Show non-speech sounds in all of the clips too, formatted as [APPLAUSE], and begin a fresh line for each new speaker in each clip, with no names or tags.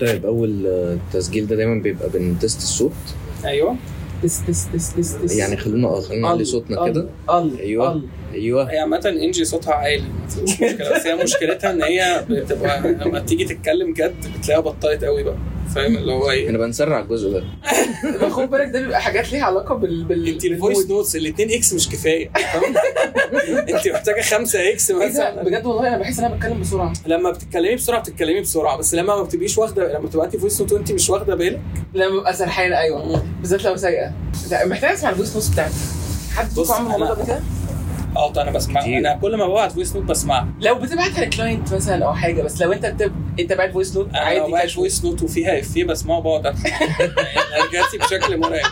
طيب اول آه، تسجيل ده دايما بيبقى بنتست الصوت
أيوة.
ايوه تس تس تس تس تس
يعني خلونا آه، خلونا نعلي صوتنا كده
ال
أيوة.
ال
ايوه
هي عامة انجي صوتها عالي ما فيش مشكلة بس هي مشكلتها ان هي بتبقى لما تيجي تتكلم جد بتلاقيها بطلت قوي بقى فاهم اللي هو ايه
احنا بنسرع الجزء ده
خد بالك ده بيبقى حاجات ليها علاقه بال بال
انت الفويس
بالمود.
نوتس الاثنين اكس مش كفايه فاهم؟ انت محتاجه خمسة اكس
إيه ده؟
مثلا
بجد والله انا بحس ان انا بتكلم بسرعه
لما بتتكلمي بسرعه بتتكلمي بسرعه بس لما ما بتبقيش واخده لما بتبقى انت فويس نوت وانت مش واخده بالك
لما ببقى سرحانه ايوه بالذات لو سايقه ده محتاج اسمع الفويس نوتس بتاعتي حد
بص،
فيكم عمل الموضوع
أنا-
ده قبل كده؟
اه طيب انا بسمع
كتير.
انا كل ما ببعت فويس نوت بسمعها
لو بتبعتها لكلاينت مثلا او حاجه بس لو انت بتب... انت بعت فويس نوت
انا
عادي
لو
كاش
فويس نوت وفيها افيه بسمعه بقعد اضحك يعني رجعتي بشكل مرعب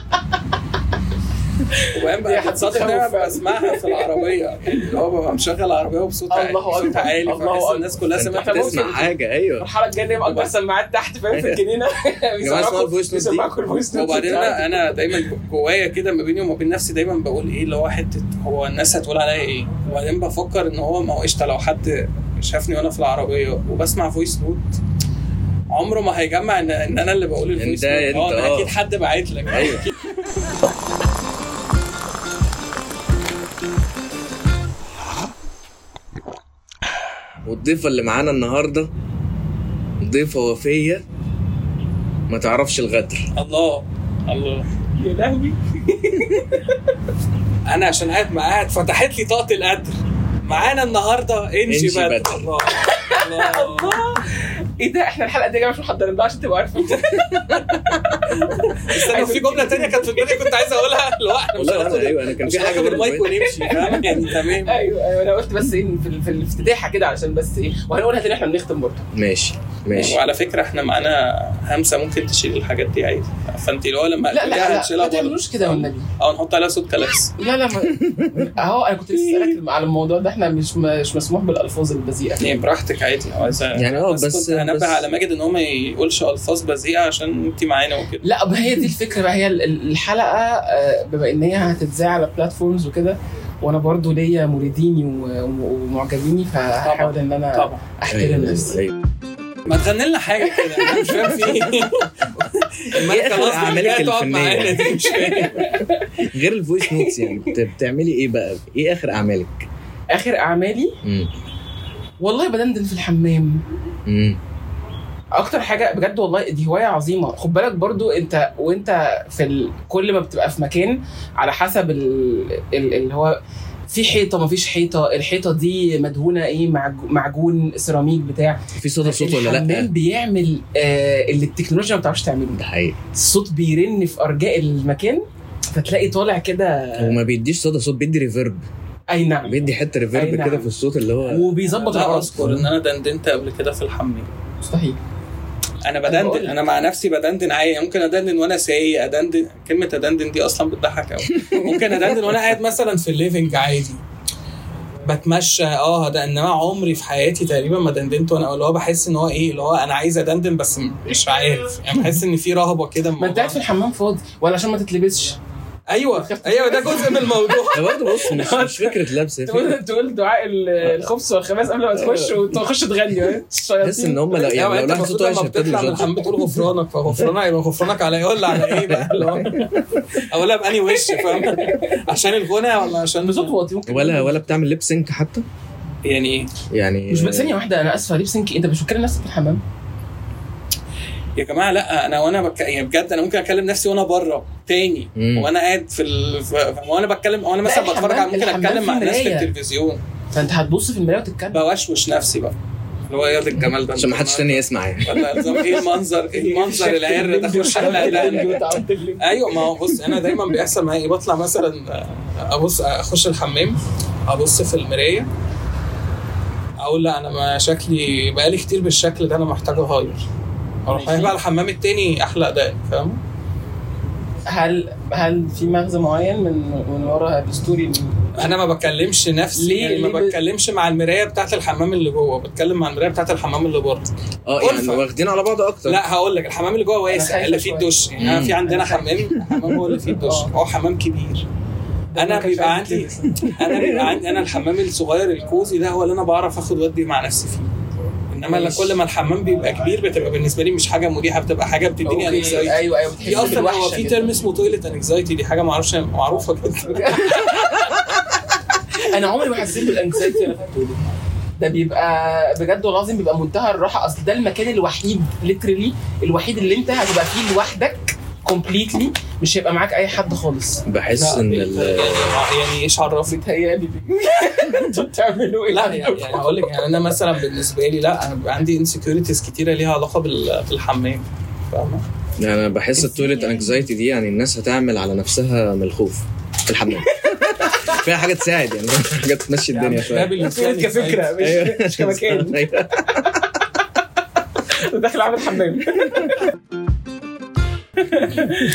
وبعدين
دي
بقى
حاجة
بتصادف ان انا
تخوف فعلا.
بسمعها في العربيه اللي هو ببقى مشغل العربيه وبصوت عالي
الله
بصوت
أكبر.
عالي
الله
فبحس
أكبر.
الناس كلها
انت
سمعت
بتسمع.
بتسمع حاجه ايوه
الحلقه الجايه نبقى اكبر سماعات تحت فاهم
[LAUGHS]
في الجنينه
اسمعوا الفويس نوت دي.
بيسمعكوا الفويس نوت
وبعدين انا انا دايما جوايا كده ما بيني وما بين نفسي دايما بقول ايه اللي هو حته هو الناس هتقول عليا ايه وبعدين بفكر ان هو ما هو قشطه لو حد شافني وانا في العربيه وبسمع فويس نوت عمره ما هيجمع ان, إن انا اللي بقول الفويس
إن ده
نوت
أنت،
اه ده
آه.
اكيد حد باعت لك
ايوه والضيفة اللي معانا النهاردة ضيفة وفية ما تعرفش الغدر
الله الله
يا لهوي [LAUGHS]
انا عشان قاعد معاها اتفتحت لي طاقه القدر معانا النهارده انجي
إنجي
بدر
بدر.
الله الله
ايه ده احنا الحلقه دي يا جماعه مش محضرين لها عشان تبقوا عارفين
استنى في جمله تانية كانت في دماغي كنت عايز اقولها اللي هو احنا مش
والله
هناخد
انا ايوه انا كان
مش
في حاجه
هناخد
برضه
المايك
بقيت-
ونمشي فاهم يعني تمام
ايوه ايوه انا قلت بس ايه في, ال- في الافتتاحه كده علشان بس ايه وهنقولها تاني احنا بنختم برضه
ماشي ماشي
وعلى فكره احنا معانا همسه ممكن تشيل الحاجات دي عادي فانت اللي هو لما
لا لا
تقوليها
لا
هتشيلها
ما
برضه
تعملوش كده والنبي
او نحط عليها صوت كلاكس
لا لا ما اهو انا كنت لسه اسالك على الموضوع ده احنا مش مش مسموح بالالفاظ البذيئه
يعني براحتك عادي لو عايزه
يعني اه بس-
كنت هنبه
بس-
على ماجد ان هو ما يقولش الفاظ بذيئه عشان انت معانا وكده
لا ما هي دي الفكره بقى هي ال- ال- الحلقه آه، بما ان هي هتتذاع على بلاتفورمز وكده وانا برضو ليا مريديني و- و- ومعجبيني فهحاول ان انا
طبعا
احترم نفسي
أيوة.
ما تغني لنا حاجه كده انا مش فاهم في ايه
إيه آخر
خلاص
أعمالك
بقى تقعد
الفنية؟
معانا دي مش فاهم
غير الفويس نوتس يعني بت- بتعملي ايه بقى؟ ايه اخر اعمالك؟
اخر اعمالي
امم
والله بدندن في الحمام
امم
اكتر حاجه بجد والله دي هوايه عظيمه خد بالك برضو انت وانت في ال... كل ما بتبقى في مكان على حسب ال... ال... اللي هو في حيطه مفيش حيطه الحيطه دي مدهونه ايه معج... معجون سيراميك بتاع
في صدى صوت ولا لا؟
الحمام بيعمل آه اللي التكنولوجيا ما بتعرفش تعمله
ده حقيقي
الصوت بيرن في ارجاء المكان فتلاقي طالع كده
هو ما بيديش صدى صوت بيدي ريفيرب
اي نعم
بيدي حته
أي
ريفيرب
نعم.
كده في الصوت اللي هو
وبيظبط
لا
العرس
اذكر ان انا دندنت قبل كده في الحمام
مستحيل
انا
أنا بقول
بدندن
لك.
انا مع نفسي بدندن عادي ممكن ادندن وانا سايق ادندن كلمه ادندن دي اصلا بتضحك
[LAUGHS]
قوي ممكن ادندن وانا قاعد مثلا في الليفنج عادي بتمشى اه ده انما عمري في حياتي تقريبا ما دندنت وانا اللي هو بحس ان هو ايه اللي هو انا عايز ادندن بس م- مش عارف يعني بحس ان في رهبه كده من
ما انت
الموضوع.
قاعد في الحمام فاضي ولا عشان ما تتلبسش
ايوه ايوه ده جزء من الموضوع
ده برضه بص مش, مش فكره لبس هي فكرة-
تقول تقول دعاء ال- الخبز والخباز قبل ما [LAUGHS] تخش وتخش تغني
تحس ان هم لا يعني
أيوة،
لو
انت
لحظه
المفروض
صوت وحش
لما
هيبتدوا
بتطلع من
يجادوا.
الحمام بتقول غفرانك فغفرانك هيبقى غفرانك على ايه ولا على ايه بقى اللي هو اقولها باني وش فاهم عشان الغنى ولا عشان
بصوت واطي ممكن
ولا ولا بتعمل ليب سينك حتى
يعني ايه
يعني
مش ثانيه واحده انا اسفه ليه بسنكي انت مش فاكر نفسك في الحمام
يا جماعه لا انا وانا بك... يعني بجد انا ممكن اكلم نفسي وانا بره تاني
مم.
وانا قاعد في ال... ف- وانا بتكلم وانا مثلا
لا،
بتفرج على
الحمام-
ممكن
الحمام
اتكلم مع
فيه
ناس في
مراية.
التلفزيون
فانت هتبص في المرايه وتتكلم
بوشوش نفسي بقى اللي هو ياض الجمال ده
عشان ما حدش تاني يسمع يعني
ولا نظام ايه المنظر ايه
[LAUGHS]
المنظر العر ده خش حلقه ده ايوه ما هو بص انا دايما بيحصل معايا ايه بطلع آه، مثلا ابص اخش الحمام ابص في المرايه اقول لا انا ما شكلي بقالي كتير بالشكل ده انا محتاج اغير اروح
ماشي.
رايح بقى الحمام التاني احلق ده فاهم
هل هل في مغزى معين من من ورا الستوري
انا ما بكلمش نفسي
ليه-
ليه يعني ما
ليه ب-
بتكلمش مع المرايه بتاعت الحمام اللي جوه بتكلم مع المرايه بتاعت الحمام اللي بره
اه يعني
ألفة.
واخدين على بعض اكتر
لا هقول لك الحمام اللي جوه واسع
خايفة
اللي فيه
شوية.
الدش يعني أنا
مم.
في عندنا
أنا
حمام حمام هو اللي فيه الدش
[LAUGHS] آه.
هو حمام كبير
ده
انا
ما كانش
بيبقى
عندي
عندي انا بيبقى عندي انا الحمام الصغير الكوزي ده هو اللي انا بعرف اخد ودي مع نفسي فيه انما كل ما الحمام بيبقى كبير بتبقى بالنسبه لي مش حاجه مريحه بتبقى حاجه بتديني
اوكي
انكزايتي
ايوه ايوه
في
بتحس
اصلا هو
بالوحشه
في
كده.
ترم اسمه تويلت انكزايتي دي حاجه ما اعرفش معروفه جدا
انا عمري ما حسيت بالانكسايتي وانا فاتوره ده بيبقى بجد والله العظيم بيبقى منتهى الراحه اصل ده المكان الوحيد ليترلي الوحيد اللي انت هتبقى فيه لوحدك كومبليتلي مش هيبقى معاك اي حد خالص
بحس
لا،
ان ال-
يعني- يعني ايش عرفك
بيتهيألي [LAUGHS] انتوا بتعملوا ايه؟
لا يعني
[LAUGHS]
يعني هقول لك يعني انا مثلا بالنسبه لي لا انا بيبقى عندي انسكيورتيز كتيره ليها علاقه بال- بالحمام فاهمه
انا يعني بحس التويلت انكزايتي دي يعني الناس هتعمل على نفسها من الخوف في
[LAUGHS]
الحمام فيها حاجه تساعد يعني حاجه تمشي الدنيا
ده
شويه
بالنسبه
[LAUGHS]
لي
كفكره
أيوة.
مش مش كمكان [LAUGHS]
[LAUGHS] أيوة.
داخل عامل حمام [LAUGHS]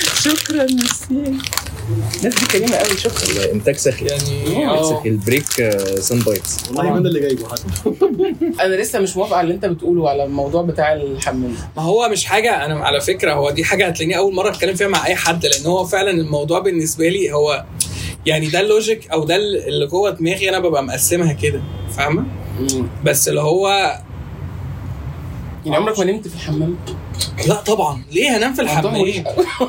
شكرا مسيح الناس دي كريمه قوي شكرا
والله انتاج سخي
يعني
آه.
آه.
البريك سان بايتس
والله ما انا اللي جايبه حتى
انا لسه مش موافقه على اللي انت بتقوله على الموضوع بتاع الحمام
ما هو مش حاجه انا على فكره هو دي حاجه هتلاقيني اول مره اتكلم فيها مع اي حد لان هو فعلا الموضوع بالنسبه لي هو يعني ده اللوجيك او ده اللي جوه دماغي انا ببقى مقسمها كده فاهمه بس اللي هو
يعني عمرك ما نمت في الحمام؟
لا طبعا ليه هنام في الحمام
[LAUGHS]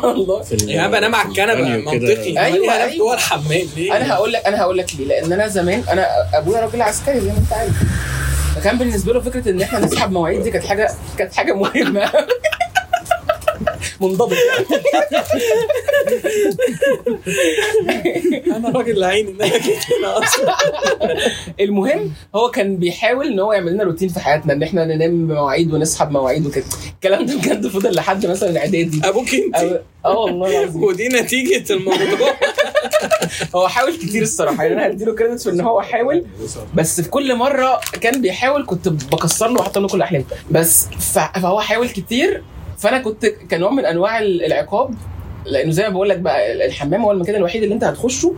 والله
في ال-
يعني انا بنام على الكنبه
البانيو كده.
منطقي
أيوة،
أيوة هنام
أيوة.
جوه الحمام ليه
انا هقول لك انا هقول لك ليه لان انا زمان انا ابويا راجل عسكري زي ما انت عارف فكان بالنسبه له فكره ان احنا نسحب مواعيد دي كانت حاجه كانت حاجه مهمه [LAUGHS] منضبط
انا راجل لعين ان انا جيت هنا اصلا
المهم هو كان بيحاول ان هو يعمل لنا روتين في حياتنا ان احنا ننام بمواعيد ونسحب مواعيد وكده الكلام ده بجد فضل لحد
[LAUGHS]
مثلا اعدادي
ابوك انت
أو- اه والله العظيم
ودي نتيجه الموضوع
هو حاول كتير الصراحه يعني انا هديله كريدت في ان هو حاول بس في كل مره كان بيحاول كنت بكسر له واحط له كل احلامه بس ف- فهو حاول كتير فانا كنت كنوع من انواع ال- العقاب لانه زي ما بقول لك بقى ال- الحمام هو المكان الوحيد اللي انت هتخشه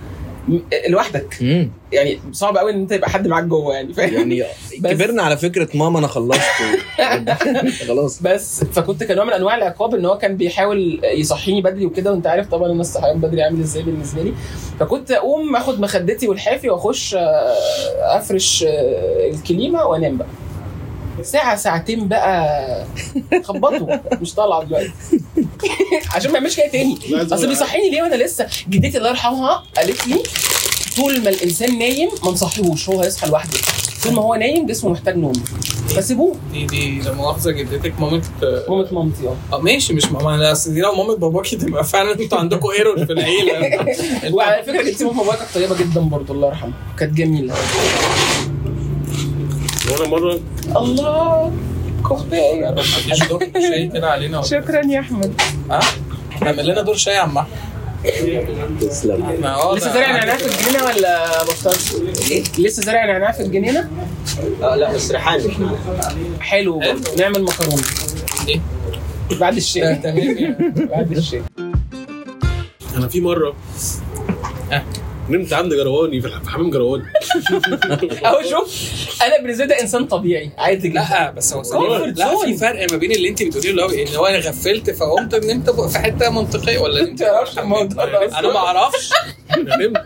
م- لوحدك
مم.
يعني صعب قوي ان انت يبقى حد معاك جوه يعني فاهم
يعني
[LAUGHS] بس-
كبرنا على فكره ماما انا
[LAUGHS]
خلصت و- خلاص
بس فكنت كنوع من انواع العقاب ان هو كان بيحاول يصحيني بدري وكده وانت عارف طبعا ان الصحيان بدري عامل ازاي بالنسبه لي فكنت اقوم اخد مخدتي والحافي واخش آه، افرش آه، الكليمه وانام بقى ساعة ساعتين بقى خبطوا مش طالعة دلوقتي [LAUGHS] عشان ما يعملش كده تاني
لا، عايز
اصل
أقول-
بيصحيني ليه وانا لسه جدتي الله يرحمها قالت لي طول ما الانسان نايم ما نصحيهوش هو هيصحى لوحده طول ما هو نايم جسمه محتاج نوم فسيبوه
دي دي لا مؤاخذه جدتك مامت
مامة مامتي اه
اه ماشي مش ماما لا اصل دي لو مامة باباكي تبقى فعلا انتوا عندكم ايرور في [LAUGHS] العيله
وعلى فكره جدتي ماما بابايا كانت طيبه جدا برضه الله يرحمها كانت جميله
وانا مره
الله كوبايه
مفيش دور شاي كده علينا ولا-
شكرا يا احمد
ها اعمل لنا دور شاي يا عم احمد
تسلم [LAUGHS]
احنا اه
لسه
ده-
زارع نعناع في الجنينه ولا بطلت؟ لسه زارع نعناع في الجنينه؟
لا بس ريحان
حلو برضه. نعمل مكرونه
إيه؟
بعد
ده
الشيء
تمام يعني.
بعد [LAUGHS] الشيء
انا في مره
آه.
نمت عند جرواني في الح- في حمام جرواني
اهو شوف انا بالنسبه لي ده انسان طبيعي عادي جدا
لا بس هو سليم.
Comfort
لا
zone.
في فرق ما بين اللي انت بتقوليه اللي هو ان هو انا غفلت فقمت نمت في حته منطقيه ولا
انت تعرفش الموضوع ده أصلاً.
انا ما اعرفش
انا نمت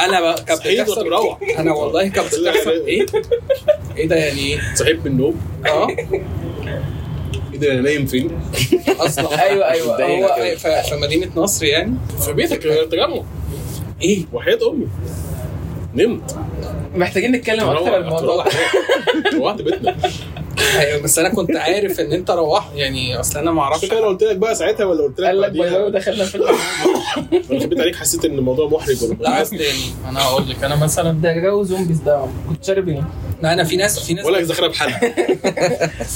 انا بقى- كانت
صحيت
بتحصل
وتروح.
انا والله كانت بتحصل ايه ايه ده يعني ايه؟
صحيت من النوم
اه
ايه ده انا نايم فين؟
اصلا
ايوه ايوه
متضايق
هو
هو ف- في مدينه نصر يعني
في بيتك يا تجمع
ايه
وحياة امي نمت
محتاجين نتكلم
روحت
اكتر عن الموضوع
روحت بيتنا
ايوه بس انا كنت عارف ان انت روحت يعني اصل انا ما
عشان
اعرفش
كده انا قلت لك بقى ساعتها ولا قلت لك
قال لك باي باي
بعديها انا
ودخلنا في الحمام.
خبيت عليك حسيت ان الموضوع محرج ولا
لا اصل يعني انا هقول لك انا مثلا
ده جو زومبيز ده يا عم. كنت شارب ايه؟
لا انا في ناس في ناس
ولا عايز اخرب حل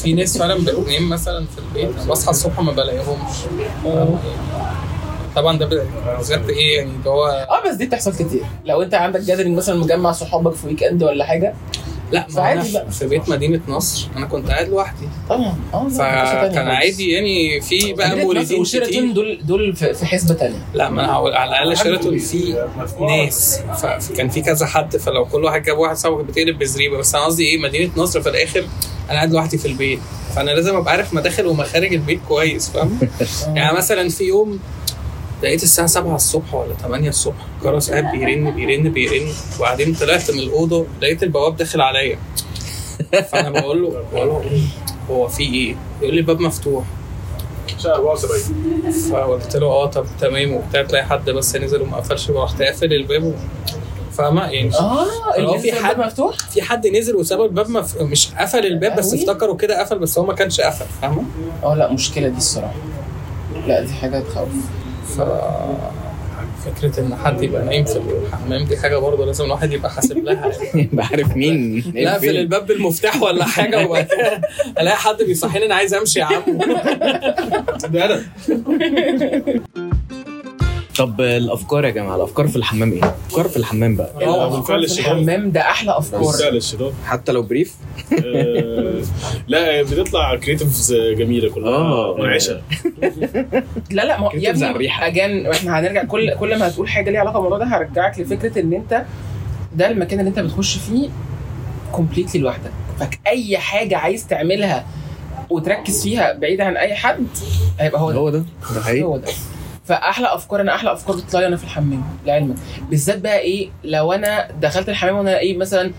في ناس فعلا بتنام مثلا في البيت أنا بصحى الصبح ما بلاقيهمش طبعا ده ب- بالذات ايه يعني اللي هو
اه بس دي بتحصل كتير لو انت عندك جاذرينج مثلا مجمع صحابك في ويك اند ولا حاجه
لا ما
فعادي
أنا
بقى.
في بيت مدينه نصر انا كنت قاعد لوحدي
طبعا اه
فكان عادي يعني في بقى
مولدين
مولدين كتير
وشيراتون دول دول في في حسبه تانية
لا ما انا هقول على الاقل شيراتون في ناس فكان في كذا حد فلو كل واحد جاب واحد صاحبه كانت بتقلب بزريبه بس انا قصدي ايه مدينه نصر في الاخر انا قاعد لوحدي في البيت فانا لازم ابقى عارف مداخل ومخارج البيت كويس فاهم يعني مثلا في يوم لقيت الساعة 7 الصبح ولا 8 الصبح جرس قاعد بيرن بيرن بيرن وبعدين طلعت من الأوضة لقيت البواب داخل عليا فانا بقول له بقول له هو في ايه؟ يقول لي الباب مفتوح
شهر 74
فقلت له اه طب تمام وبتاع تلاقي حد بس نزل وما قفلش وراح قافل الباب و- فاهمه يعني
اه
هو
اللي
في
في
حد-
حد مفتوح
في حد نزل وساب الباب مف... مش قفل الباب بس
أوي.
افتكروا كده قفل بس هو ما كانش قفل فاهمه؟
اه لا مشكله دي الصراحه لا دي حاجه تخوف
ف فكرة إن حد يبقى نايم في الحمام دي حاجة برضه لازم الواحد يبقى حاسب
[LAUGHS]
لها يعني.
بعرف مين
لا اقفل الباب بالمفتاح ولا حاجة وبعد كده ألاقي حد بيصحيني أنا عايز أمشي يا عم
ده انا
طب الافكار يا جماعه الافكار في الحمام ايه؟ الافكار في الحمام بقى
أفكار
في
للشباب.
الحمام ده احلى افكار
بس سهل الشباب
حتى لو بريف
آه، لا بتطلع كريتيفز جميله كلها
آه.
منعشه
لا لا ما هو-
كده
يا
تفزع
ابني
الريحة.
اجان واحنا هنرجع كل كل ما هتقول حاجه ليها علاقه بالموضوع ده هرجعك لفكره ان انت ده المكان اللي انت بتخش فيه كومبليتلي لوحدك فاي حاجه عايز تعملها وتركز فيها بعيد عن اي حد هيبقى هو ده
هو إيه؟ ده ده حقيقي
هو ده فاحلى افكار انا احلى افكار بتطلع لي انا في الحمام لعلمك بالذات بقى ايه لو انا دخلت الحمام وانا ايه مثلا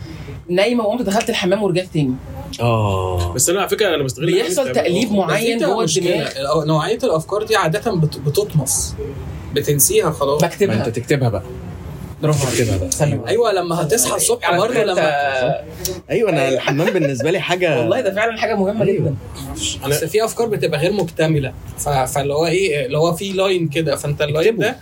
نايمه وقمت دخلت الحمام ورجعت تاني
اه
بس انا على فكره انا بستغل
بيحصل تقليب [LAUGHS] معين
بس دي
جوه
مشكلة.
الدماغ
الأو- نوعية الأفكار دي عادة بت- بتطمس بتنسيها خلاص
ما انت
بكتبها
تكتبها بقى
برافو
تكتبها
عليك
بقى.
سلم
أيوة لما هتصحى الصبح
على
برضه
فكرة
لما
ايوه انا الحمام بالنسبه لي [LAUGHS] حاجه
والله ده فعلا حاجه مهمه
أيوة.
جدا
بس في افكار بتبقى غير مكتمله ف- فاللي هو ايه اللي هو في لاين كده فانت اللاين
اكتبه.
ده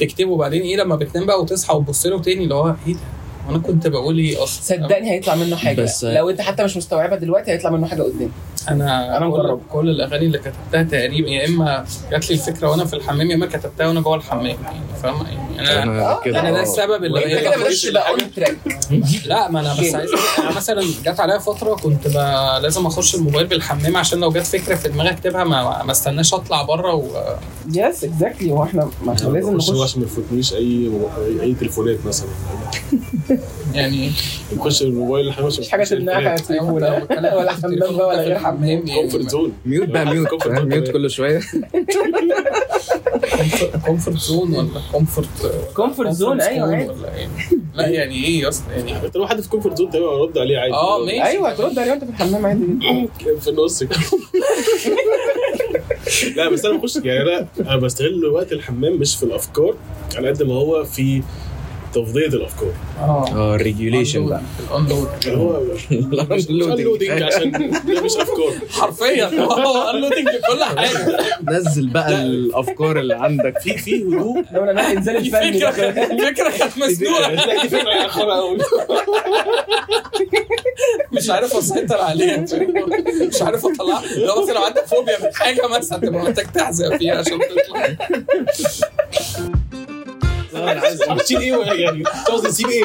تكتبه بعدين ايه لما بتنام بقى وتصحى وتبص له تاني اللي هو ايه ده وانا كنت بقول ايه اصلا
صدقني هيطلع منه حاجه
بس-
لو انت حتى مش مستوعبه دلوقتي هيطلع منه حاجه قدام
انا
أنا
كل-
مجرب.
كل الاغاني اللي كتبتها تقريبا يا اما جات لي الفكره وانا في الحمام يا اما كتبتها وانا جوه الحمام يعني فاهم يعني انا انا,
انا كده
ده
آه.
السبب اللي
انت كده
بقيت
بدات
أخش
تبقى
الحاجة.
اون تراك
لا ما انا بس عايز انا مثلا جت عليا فتره كنت ب... لازم اخش الموبايل بالحمام عشان لو جت فكره في دماغي اكتبها ما, ما استناش اطلع بره و...
يس اكزاكتلي هو احنا ما احنا لازم نخش
عشان ما يفوتنيش اي اي تليفونات مثلا
يعني
نخش الموبايل الحمام عشان
مفيش حاجه تمنعك عن
أيوة،
التليفون لا ولا حمام بقى ولا غير حمام
يعني.
كومفورت زون
ميوت بقى ميوت
كومفورت
فاهم؟
زون
ميوت كل شويه
كومفورت زون ولا كومفورت
كومفورت زون ايوه عادي.
ولا يعني لا يعني ايه يا اسطى يعني
حتى لو حد في كومفورت زون تقريبا ارد عليه عادي
اه ماشي
ايوه هترد عليه وانت في الحمام عادي جدا
في النص [LAUGHS] كده. لا بس انا بخش يعني انا انا بستغل وقت الحمام مش في الافكار على قد ما هو في تفضيه الافكار
اه
اه الريجوليشن بقى
الاندور
اللي هو مش
[LAUGHS]
unloading عشان ده مش افكار
حرفيا هو انلودنج كل حاجه
نزل بقى الافكار اللي [LAUGHS] عندك
في في [LAUGHS] هدوء يعني
لولا انا انزال [LAUGHS]
دي
الفني
فكره
ده.
فكره كانت
[LAUGHS]
مسدوده
هتلاقي في فرق اخر قوي
مش عارف اسيطر عليها مش عارف اطلعها لو مثلا لو عندك فوبيا من حاجه مثلا تبقى محتاج تحزق فيها عشان تطلع
انا [LAUGHS] عايز بتشيل ايه يعني قصدي تسيب ايه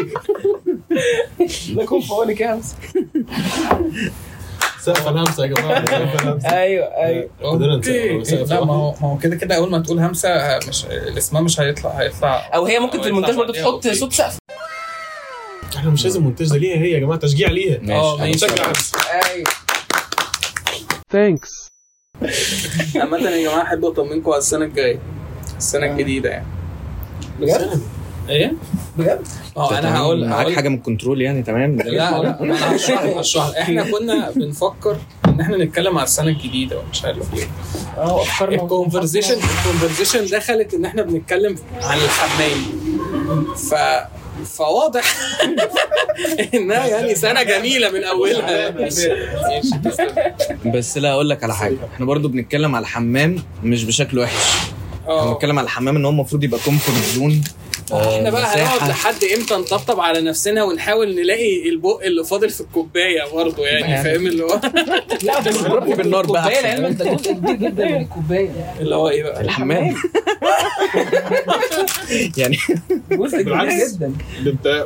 ده كوم فوني كده
سقف الهمسه يا جماعه سقف الهمسه
ايوه ايوه
قدرنا نسقف.
أوكي. لا ما هو ما هو كده كده اول ما تقول همسه مش اسمها مش هيطلع هيطلع
او هي ممكن في المونتاج برضه
أوكي.
تحط صوت سقف
احنا مش لازم مونتاج ده ليها هي يا جماعه تشجيع ليها
اه
ماشي
ماشي
ايوه
Thanks.
عامة يا جماعة أحب أطمنكم على السنة الجاية السنة الجديدة يعني
بجد
إيه؟
بجد
أه أنا هقول
معاك
هقول-
حاجه من الكنترول يعني تمام [LAUGHS]
لا لا أنا هشرح لك- هشرح لك. إحنا كنا بنفكر إن إحنا نتكلم على السنة الجديدة ومش عارف إيه
اه افكارنا
الكونفرزيشن الكونفرزيشن دخلت إن إحنا بنتكلم عن الحمام ف فواضح [LAUGHS] انها يعني سنه جميله من اولها ماشي ماشي تسلم.
بس لا اقول لك على حاجه احنا برضو بنتكلم على الحمام مش بشكل وحش احنا
اه
بنتكلم على الحمام ان هو المفروض يبقى كومفورت زون آه،
احنا آه، بقى هنقعد لحد امتى نطبطب على نفسنا ونحاول نلاقي البق اللي فاضل في الكوبايه برضه يعني فاهم اللي هو [LAUGHS]
لا بس
اضربني بالنار بقى
الكوبايه
أحسن.
لعلمك ده جزء كبير جدا من الكوبايه
اللي هو ايه بقى
الحمام
[LAUGHS]
يعني
جزء كبير
بالعكس.
جدا
ده انت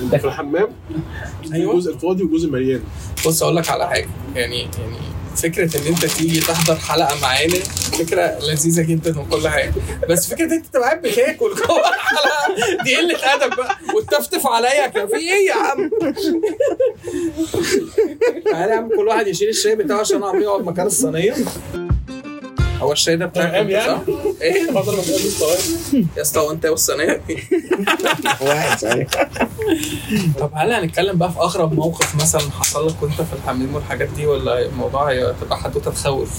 انت في الحمام في
ايوه
جزء فاضي وجزء مليان
بص اقول لك على حاجه يعني يعني فكره ان انت تيجي تحضر حلقه معانا فكره لذيذه جدا وكل حاجه بس فكره ان انت تبقى قاعد بتاكل جوه الحلقه دي قله ادب بقى وتفتف عليا كان في ايه يا عم تعالى يا عم كل واحد يشيل الشاي بتاعه عشان اعمل يقعد مكان الصينيه هو الشاي ده بتاعك
تمام
انت، صح؟ ايه
حاضر ما تقولش طوال
يا اسطى هو انت والصينيه
واحد صحيح
[LAUGHS] طب هل هنتكلم بقى في اغرب موقف مثلا حصل لك وانت في الحمام والحاجات دي ولا الموضوع هتبقى حدوته تخوف؟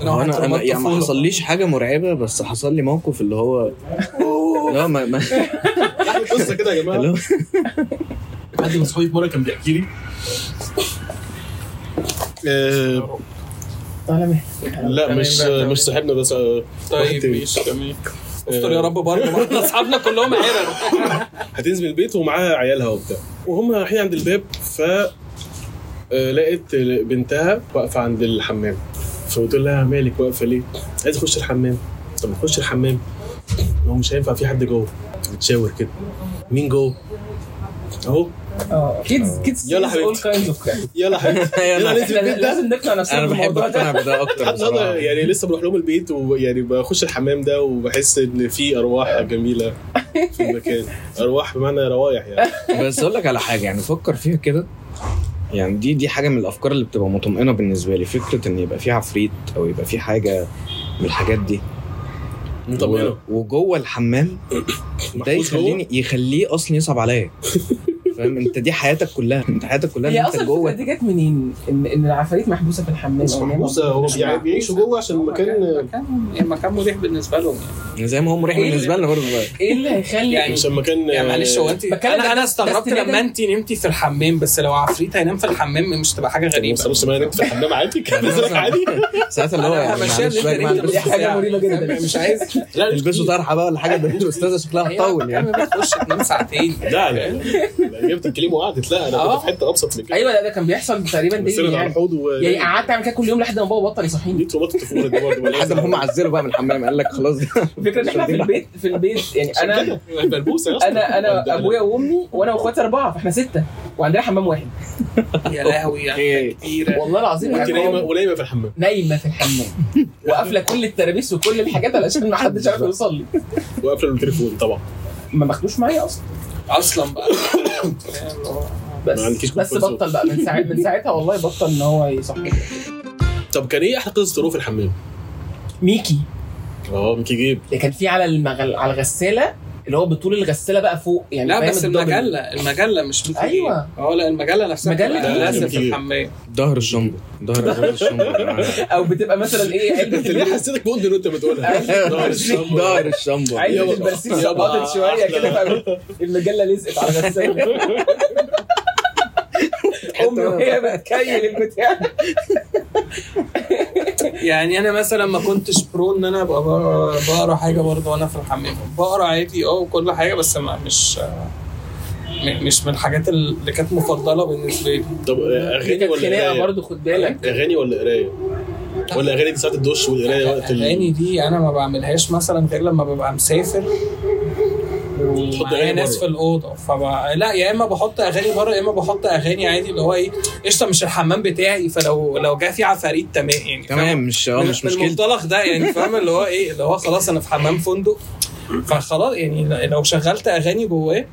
هو انا انا يعني ما
طفولة.
حصليش حاجه مرعبه بس حصل لي موقف اللي هو لا ما ما
قصه يعني كده يا جماعه
اللي هو
حد من صحابي في مره كان بيحكي لي آه،
تعالى مهدي
لا مش مش صاحبنا ده صاحب- واحد
طيب
تاني.
ماشي تمام
آه،
استر يا رب برضه [LAUGHS] برضه اصحابنا
[LAUGHS]
كلهم عرق
هتنزل من البيت ومعاها عيالها وبتاع وهم رايحين عند الباب ف آه، لقيت بنتها واقفه عند الحمام فبتقول لها مالك واقفه ليه؟ عايز اخش الحمام طب ما تخش الحمام هو مش هينفع في حد جوه بتشاور كده مين جوه؟ اهو
اه كيدز كيدز
يلا
اول
حبيبتي.
كاينز اوف كرايم
يلا
[LAUGHS]
حبيبتي يلا
يلا.
ننزل
احنا
البيت ده
لازم نقنع نفسنا
انا بحب
بالموضوع
اقتنع
ده
بده
[LAUGHS]
اكتر
أنا- أنا
بصراحه
يعني لسه بروح لهم البيت ويعني بخش الحمام ده وبحس ان في ارواح جميله في المكان ارواح بمعنى روايح [LAUGHS] يعني
بس اقول لك على حاجه يعني فكر فيها كده يعني دي دي حاجه من الافكار اللي بتبقى مطمئنه بالنسبه لي فكره ان يبقى في عفريت او يبقى في حاجه من الحاجات دي
مطمئنة.
و- وجوه
[COUGHS]
الحمام ده
محفوظ جوه.
يخليني يخليه اصلا يصعب
[LAUGHS]
عليا فاهم انت دي حياتك كلها انت حياتك كلها
هي
إن انت
اصلا الفكره
جوه
دي جت منين؟ ان ان العفاريت محبوسه في الحمام
مش
أو إن هي
محبوسة، هو
موجودة.
يعني بيعيشوا جوه عشان المكان
مكان يعني مكان مريح بالنسبه لهم يعني.
زي ما هو مريح
إيه
بالنسبه
[LAUGHS]
لنا برضه
ايه اللي هيخلي
يعني
عشان مكان
آه،
يعني معلش هو انت
بتكلم
انا
ده-
انا
ده
استغربت
استنادا.
لما انت نمتي في الحمام بس لو عفريت هينام في الحمام مش تبقى حاجه
غريبه
غريبه
بص ما نمت في الحمام عادي
[LAUGHS]
كان نزلك عادي
ساعات اللي هو
أنا
يعني
همشيها
معلش
اللي
بقى
انت
يا جماعه
نمت
دي
نص
حاجة
ساعة.
مريبة جدا.
فاهم؟ مش [LAUGHS] عايز
لا
البسوا طرحه بقى ولا
[LAUGHS]
حاجه ده الاستاذه شكلها هتطول يعني
بتخش تنام ساعتين
لا لا لا جبت الكلمه وقعدت لا انا
آه.
كنت في حته ابسط من كده
ايوه لا ده كان بيحصل تقريبا
بس انا
دي
على
يعني
الحوض و
يعني قعدت اعمل كده كل يوم لحد ما بابا بطل يصحيني
دي ترومات الطفوله دي برضه
[LAUGHS]
لحد ما هم
[LAUGHS]
عزلوا بقى من الحمام قال لك خلاص
الفكره ان احنا في البيت في البيت يعني انا
ملبوسه يا اسطى.
انا
أنت-
انا ابويا وامي وانا واخواتي اربعه فاحنا سته وعندنا حمام واحد
يا لهوي
[LAUGHS]
يعني كتيره
والله العظيم
وأنت
يعني
نايمه ونايمه في الحمام
نايمه في الحمام وقافله كل الترابيس وكل الحاجات علشان ما حدش عارف يوصل لي
وقافله التليفون طبعا
ما ماخدوش معايا اصلا
اصلا بقى
بس
ما عندكيش
بس
كونفورت
بطل بقى من ساعه من ساعتها والله بطل ان هو يصحيني
طب كان ايه احلى قصه تروح في الحمام؟
ميكي
اه ميكي [LAUGHS] جيب
اللي كان فيه على المغل... على الغساله اللي هو بطول الغساله بقى فوق يعني
لا
فاهم
بس
الدبل.
المجله المجله مش ممكن
أيوة.
اه لا المجله نفسها
مجلة
بتبقى
إيه؟
لازم في
إيه؟
الحمام
ظهر الشنبه ظهر ظهر الشنبه يا جماعة. [LAUGHS]
او بتبقى مثلا
[LAUGHS]
ايه علبه
انت ليه
اللحم
حسيتك مدمن وانت بتقولها؟
أيوة.
ظهر الشمبر.
ظهر الشنبه
علبه
يابا.
البرسيم
يابا. [LAUGHS]
سقطت شويه كده فاهم؟ المجله لزقت على الغساله امي وهي بتكيل البتاع
يعني انا مثلا ما كنتش برو ان انا ابقى بقرا- بقرا حاجه برضه وانا في الحمام بقرا عادي اه وكل حاجه بس ما مش م- مش من الحاجات اللي كانت مفضله بالنسبه لي
طب آه،
دي
اغاني
كانت
ولا أيوة.
خناقه
قرايه؟
برضه خد بالك
اغاني ولا قرايه؟ ولا اغاني دي ساعه الدش والقرايه وقت ال-
الاغاني دي انا ما بعملهاش مثلا غير لما ببقى مسافر
تحط
ومعايا
أغاني
ناس
بره.
في الاوضه فبقى لا يا اما بحط اغاني بره يا اما بحط اغاني عادي اللي هو ايه قشطه مش الحمام بتاعي فلو لو جه في عفاريت تمام يعني فاهم؟
تمام مش اه
من-
مش
من
مشكلتي
المنطلق ده يعني فاهم اللي هو ايه اللي هو خلاص انا في حمام فندق فخلاص يعني لو شغلت اغاني جواه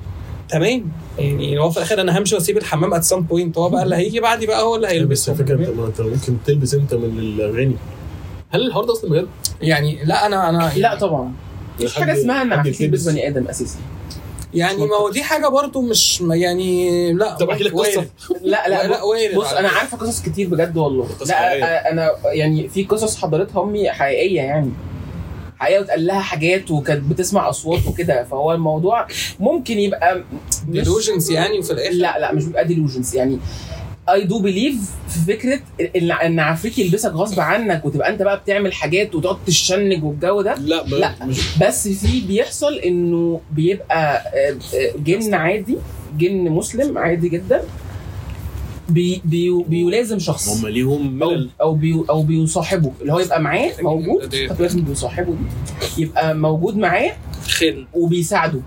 تمام يعني هو في الاخر انا همشي واسيب الحمام ات سام بوينت هو بقى اللي هيجي بعدي بقى هو اللي
بس
هيلبسه
الفكره انت ما انت ممكن تلبس انت من الاغاني هل الحوار ده اصلا بجد؟
يعني لا انا انا
لا طبعا مفيش حاجه
حد-
اسمها ان
حد
عفريت
يتلبس.
بيت بني ادم اساسا
يعني ما هو دي حاجه برضو مش يعني لا
طب أحكي لك قصة.
وارد.
لا لا
لا وارد
بص
على
انا
فكرة.
عارفه قصص كتير بجد والله
قصص
لا
حقيقية.
أ- انا يعني في قصص حضرتها امي حقيقيه يعني حقيقيه واتقال لها حاجات وكانت بتسمع اصوات وكده فهو الموضوع ممكن يبقى م- مش-
ديلوجنز يعني وفي الاخر
لا لا مش بيبقى ديلوجنس يعني اي دو بليف في فكره ان ان عفريت يلبسك غصب عنك وتبقى انت بقى بتعمل حاجات وتقعد تشنج والجو ده
لا ما-
لا.
مش
بس في بيحصل انه بيبقى آه، آه، جن عادي جن مسلم عادي جدا بي بي بيلازم شخص
هم ليهم
او
ملل
او بي او بيصاحبه اللي هو يبقى معاه موجود
دي-
خد بالك من بيصاحبه دي يبقى موجود معاه
خل
وبيساعده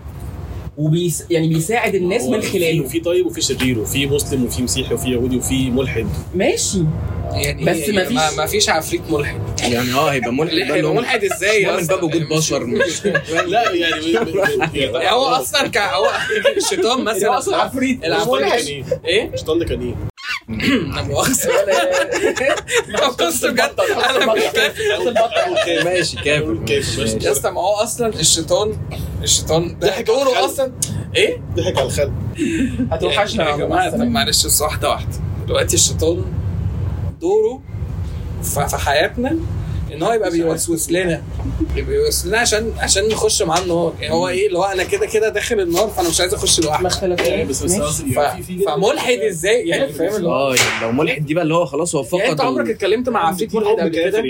وبيس يعني بيساعد الناس من خلاله
في طيب وفي شرير وفي مسلم وفي مسيحي وفي يهودي وفي ملحد
ماشي
يعني
بس
يعني
مفيش-
ما- ما فيش عفريت ملحد
يعني اه هيبقى ملحد بقى اللي
هيبقى
هو
ملحد ازاي
هو
يا
من
اسطى؟
باب وجود
يعني مش-
بشر
[LAUGHS]
مش
لا يعني ب- ب- يعني
هو اصلا كا- هو الشيطان مثلا
عفريت
العفريت
الشيطان ده
ملحد.
كان ايه؟
ايه
الشيطان ده كان ايه؟
لا مؤاخذه بص بجد انا مش فاهم
ماشي كافر
كيف؟
ماشي.
يا اسطى ما هو اصلا الشيطان الشيطان ده
ضحك على
دوره
الخلق.
اصلا ايه؟
ضحك على الخد
هتوحشنا
يا جماعه يعني طب معلش بس واحده واحده دلوقتي الشيطان دوره ف- في حياتنا ان هو يبقى بيوسوس لنا يبقى بيوسوس لنا عشان عشان نخش معاه النار يعني هو ايه اللي هو انا كده كده داخل النار فانا مش عايز اخش
ما
لوحدي
اختلفناش
بس
ماشي.
بس
ف- فملحد ازاي يعني فاهم اللي هو
اه يعني لو ملحد دي بقى اللي هو خلاص هو
يعني انت عمرك
فقد
اتكلمت مع
يعني
عفريت ملحد قبل كده؟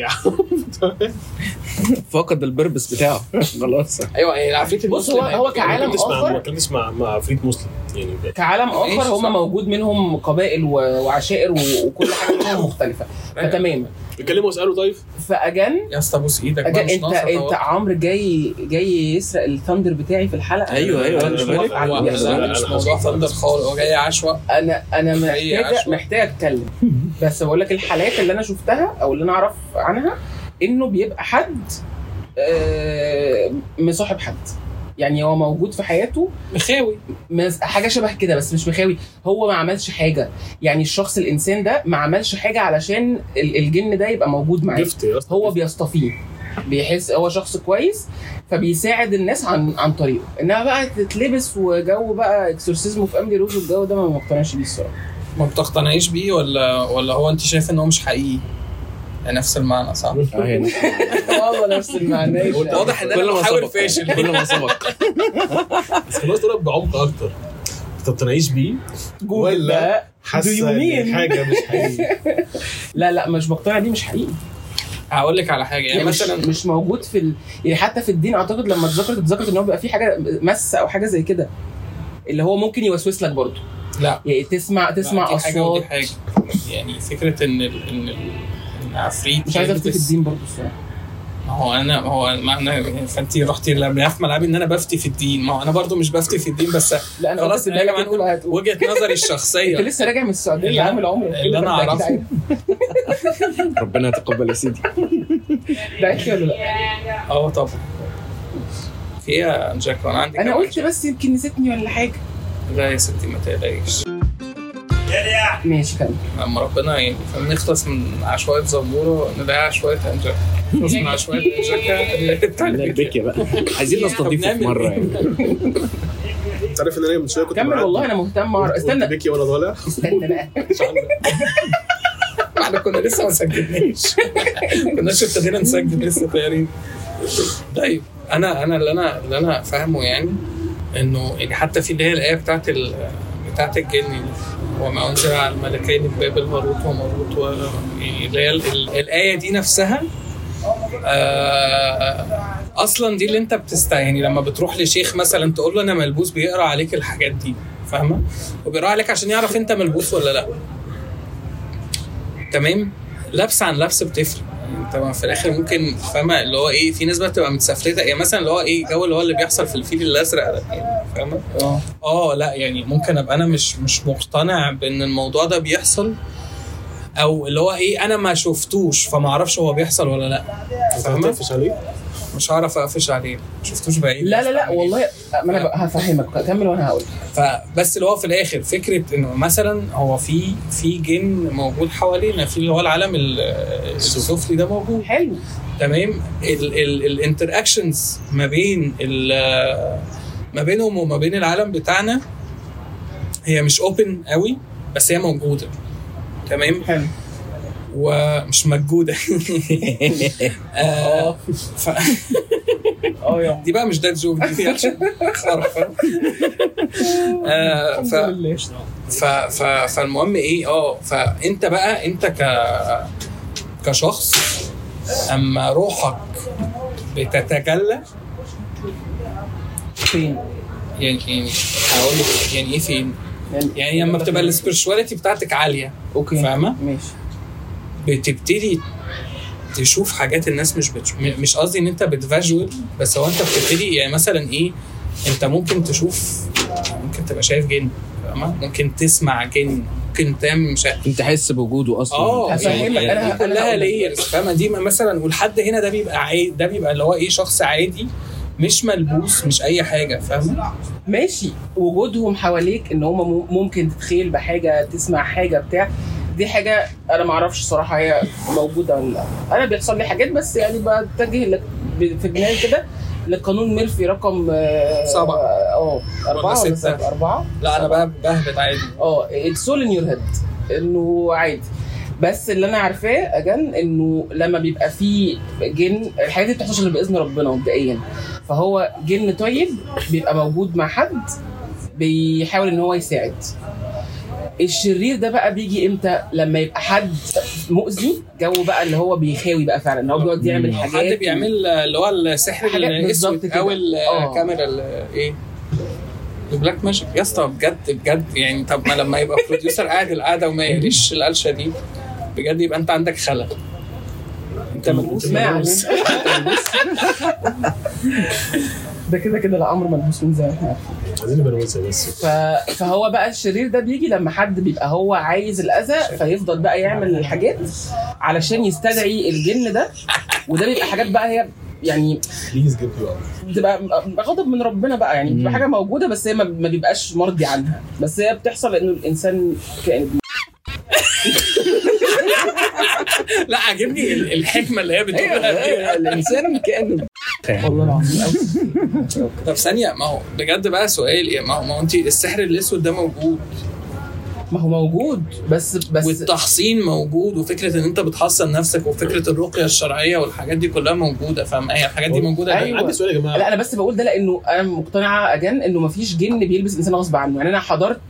فقد البربس بتاعه آه، خلاص
ايوه يعني العفريت
بص هو
المسلم
هو كعالم
ما
اخر
كنتش مع مع عفريت مسلم يعني
كعالم
ماشي،
اخر
صح.
هم موجود منهم قبائل و- وعشائر و- وكل حاجه
[COUGHS]
منهم مختلفه فتمام
بيكلموا اساله طيب
فاجن
يا اسطى بص ايدك بقى
أجن
مش
انت
ناقصة
انت
طبعا.
عمرو جاي جاي يسرق الثاندر بتاعي في الحلقه
ايوه
أيوه.
ايوه
أنا
أنا
مش
بالك.
موافق على
هو
الوضع ده.
لا، مش موضوع فندق خالص هو جاي عشوة
انا انا
هي
محتاج
عشوة.
محتاج اتكلم بس بقول لك الحالات اللي انا شفتها او اللي انا اعرف عنها انه بيبقى حد آه، مصاحب حد يعني هو موجود في حياته
مخاوي
مس- حاجه شبه كده بس مش مخاوي هو ما عملش حاجه يعني الشخص الانسان ده ما عملش حاجه علشان ال- الجن ده يبقى موجود معاه
جفت يا اسطى
هو بيصطفيه بيحس هو شخص كويس فبيساعد الناس عن عن طريقه انها بقى تتلبس وجو بقى اكسورسيزم في امري روز والجو ده ما مقتنعش بيه الصراحه
ما بتقتنعيش بيه ولا ولا هو انت شايف ان هو مش حقيقي يعني نفس المعنى صح؟
آه، هنا.
والله نفس المعنى
واضح ان
كل
انا
ما
بحاول
سبق
فاشل
كل ما سبق
بس خلاص طلب بعمق اكتر انت بتقتنعيش بيه
جوجل
ولا
بقى Do you
حاسه
mean؟
إن حاجه مش حقيقيه
لا لا مش مقتنع دي مش حقيقي
هقول لك على حاجه يعني
يعني مش,
مثلا
مش موجود في ال... يعني حتى في الدين اعتقد لما اتذكرت اتذكرت ان هو بيبقى في حاجه مس او حاجه زي كده اللي هو ممكن يوسوس لك برضه
لا
يعني تسمع تسمع
دي حاجه ودي
اصوات
حاجه يعني فكره ان ال... ان ال... إن عفريت
مش عايز افتي في
يلبس-
الدين برضه الصراحه
ما هو انا ما هو معنى فانت رحتي لملعب ملعبي ان انا بفتي في الدين ما هو انا برضو مش بفتي في الدين بس
لا انا
خلاص
قلت
يا
لك
جماعة
هتقول- هتقول.
وجهه نظري
انت
الشخصيه
إيه؟ لسه راجع من السعوديه
اللي
اللي عامل عمره
إيه اللي أنا
ده أكيد
أعرفه.
عارف.
ربنا يتقبل يا سيدي
ده أكيد ولا لا
اه طبعا في ايه يا انجاكو انا عندي
انا
كمان.
قلت بس يمكن نسيتني ولا حاجه
لا يا ستي ما تقلقيش
آه، ماشي كمل
لما ربنا يعني فاهم نخلص من عشوائية زمورة نلاقي عشوائية انجاكا نخلص من عشوائية انجاكا
[LAUGHS]
[LAUGHS] بتاع
لا
البيت.
البكية بقى عايزين نستضيفه في مره يعني
انت عارف ان انا من شويه كنت
كمل
بعدي.
والله انا مهتم اعرف
قلت
استنى
بكي وانا طالع
استنى بقى
احنا كنا لسه ما سجلناش كناش ابتدينا نسجل لسه تقريبا طيب انا انا اللي انا اللي انا فاهمه يعني انه يعني حتى في اللي هي الايه بتاعت ال بتاعت الجن دي، وما انزل على الملكين ببابل هاروت وماروت و- يعني اللي هي ال- ال- الايه دي نفسها آه، اصلا دي اللي انت بتست يعني لما بتروح لشيخ مثلا تقول له انا ملبوس بيقرا عليك الحاجات دي فاهمه وبيقرا عليك عشان يعرف انت ملبوس ولا لا تمام لبس عن لبس بتفرق انت ما في الاخر ممكن فاهمه اللي هو ايه في ناس بقى بتبقى متسفلته يعني مثلا اللي هو ايه الجو اللي هو اللي بيحصل في الفيل الازرق ده يعني فاهمه
اه
اه لا يعني ممكن ابقى انا مش مش مقتنع بان الموضوع ده بيحصل او اللي هو ايه انا ما شفتوش فما اعرفش هو بيحصل ولا لا
انت
فاهمة؟
هتقفش عليه
مش هعرف اقفش عليه ما شفتوش يعني بعيد
لا لا لا والله آه، ما انا بقى هفهمك كمل وانا هقول
فبس اللي هو في الاخر فكره انه مثلا هو في في جن موجود حوالينا في اللي هو العالم ال- السفلي ده موجود
حلو
تمام الانتراكشنز ما بين ال- ما بينهم وما بين العالم بتاعنا هي مش اوبن قوي بس هي موجوده تمام
حلو
ومش مجوده
يعني. [LAUGHS]
آه، ف...
اه يا
دي بقى مش ديد زوم دي فيها خرف آه، ف... ف... ف... فالمهم ايه اه فانت بقى انت ك كشخص اما روحك بتتجلى
فين
يعني يعني هقول لك يعني ايه فين؟ يعني لما بتبقى السبيرشواليتي بتاعتك عاليه
اوكي
فاهمة؟
ماشي
بتبتدي تشوف حاجات الناس مش بتشوف مش قصدي ان انت بتفاجوال بس هو انت بتبتدي يعني مثلا ايه انت ممكن تشوف ممكن تبقى شايف جن فاهمة؟ ممكن تسمع جن ممكن تعمل مش عارف
انت حاسس بوجوده اصلا
اه
هفهمك،
يعني
أنا-
دي
أنا
كلها
هقول لك.
لايرز فاهمه دي مثلا والحد هنا ده بيبقى عادي ده بيبقى اللي هو ايه إيه، شخص عادي مش ملبوس مش اي حاجه فاهم
ماشي وجودهم حواليك ان هم مم- ممكن تتخيل بحاجه تسمع حاجه بتاع دي حاجه انا ما اعرفش صراحه هي موجوده ولا لا انا بيحصل لي حاجات بس يعني بتجه لك ب- في جنان كده لقانون ميرفي رقم آه،
سبعة.
اه اربعه
ستة.
ولا سبعة؟ اربعه
لا انا بقى بهبط عادي
اه اتس اول ان يور هيد انه عادي بس اللي انا عارفاه اجن انه لما بيبقى في جن الحاجات دي ما بتحصلش غير باذن ربنا مبدئيا فهو جن طيب بيبقى موجود مع حد بيحاول ان هو يساعد الشرير ده بقى بيجي امتى لما يبقى حد مؤذي جو بقى اللي هو بيخاوي بقى فعلا ان هو بيقعد يعمل
مم.
حاجات
حد بيعمل اللي هو السحر
حاجة بالظبط
الاسود
كده.
او
آه.
الكاميرا ال- ايه البلاك ماجيك يا اسطى بجد بجد يعني طب ما لما يبقى بروديوسر قاعد القعده وما يقريش القلشه دي بجد يبقى انت عندك خلل انت ملبوس
ما علينا. ده كده كده الامر ملبوس من زمان احنا
عايزين بنوزة
ف...
بس
فهو بقى الشرير ده بيجي لما حد بيبقى هو عايز الاذى فيفضل بقى يعمل الحاجات علشان يستدعي الجن ده وده بيبقى حاجات بقى هي يعني
بليز جيت يو
بتبقى غضب من ربنا بقى يعني بتبقى
مم.
حاجه موجوده بس هي ما- ما بيبقاش مرضي عنها بس هي بتحصل انه الانسان كائن
لا عاجبني ال- الحكمه اللي هي
أيوة،
بتقولها دي.
الانسان كانه
والله العظيم أوي.
طب ثانيه ما هو بجد بقى سؤال إيه؟ ما هو ما هو انت السحر الاسود ده موجود
ما هو موجود بس بس
والتحصين موجود وفكره ان انت بتحصن نفسك وفكره الرقيه الشرعيه والحاجات دي كلها موجوده فاهم هي الحاجات دي يعني. موجوده ليه؟
أيوة.
عندي سؤال يا جماعه
لا انا بس بقول ده لانه انا مقتنعه اجن انه مفيش جن بيلبس الانسان غصب عنه يعني انا حضرت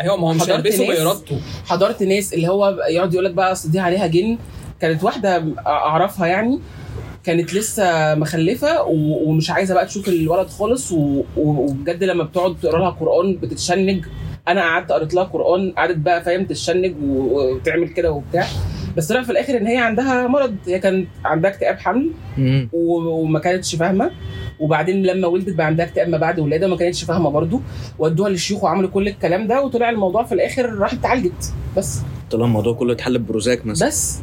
ايوه ما هو مش
حضرت
هيلبسه
ناس-
بارادته
حضرت ناس اللي هو يقعد يقول لك بقى اصل دي عليها جن كانت واحده اعرفها يعني كانت لسه مخلفه و- ومش عايزه بقى تشوف الولد خالص و- و- وبجد لما بتقعد تقرا لها قران بتتشنج انا قعدت قريت لها قران قعدت بقى فاهم تتشنج و- وتعمل كده وبتاع بس طلع في الاخر ان هي عندها مرض هي كانت عندها اكتئاب حمل
يعني
و- وما كانتش فاهمه وبعدين لما ولدت بقى عندها اكتئاب ما بعد ولاده وما كانتش فاهمه برضو ودوها للشيوخ وعملوا كل الكلام ده وطلع الموضوع في الاخر راحت اتعالجت بس
طلع الموضوع كله اتحل ببروزاك مثلا [LAUGHS]
بس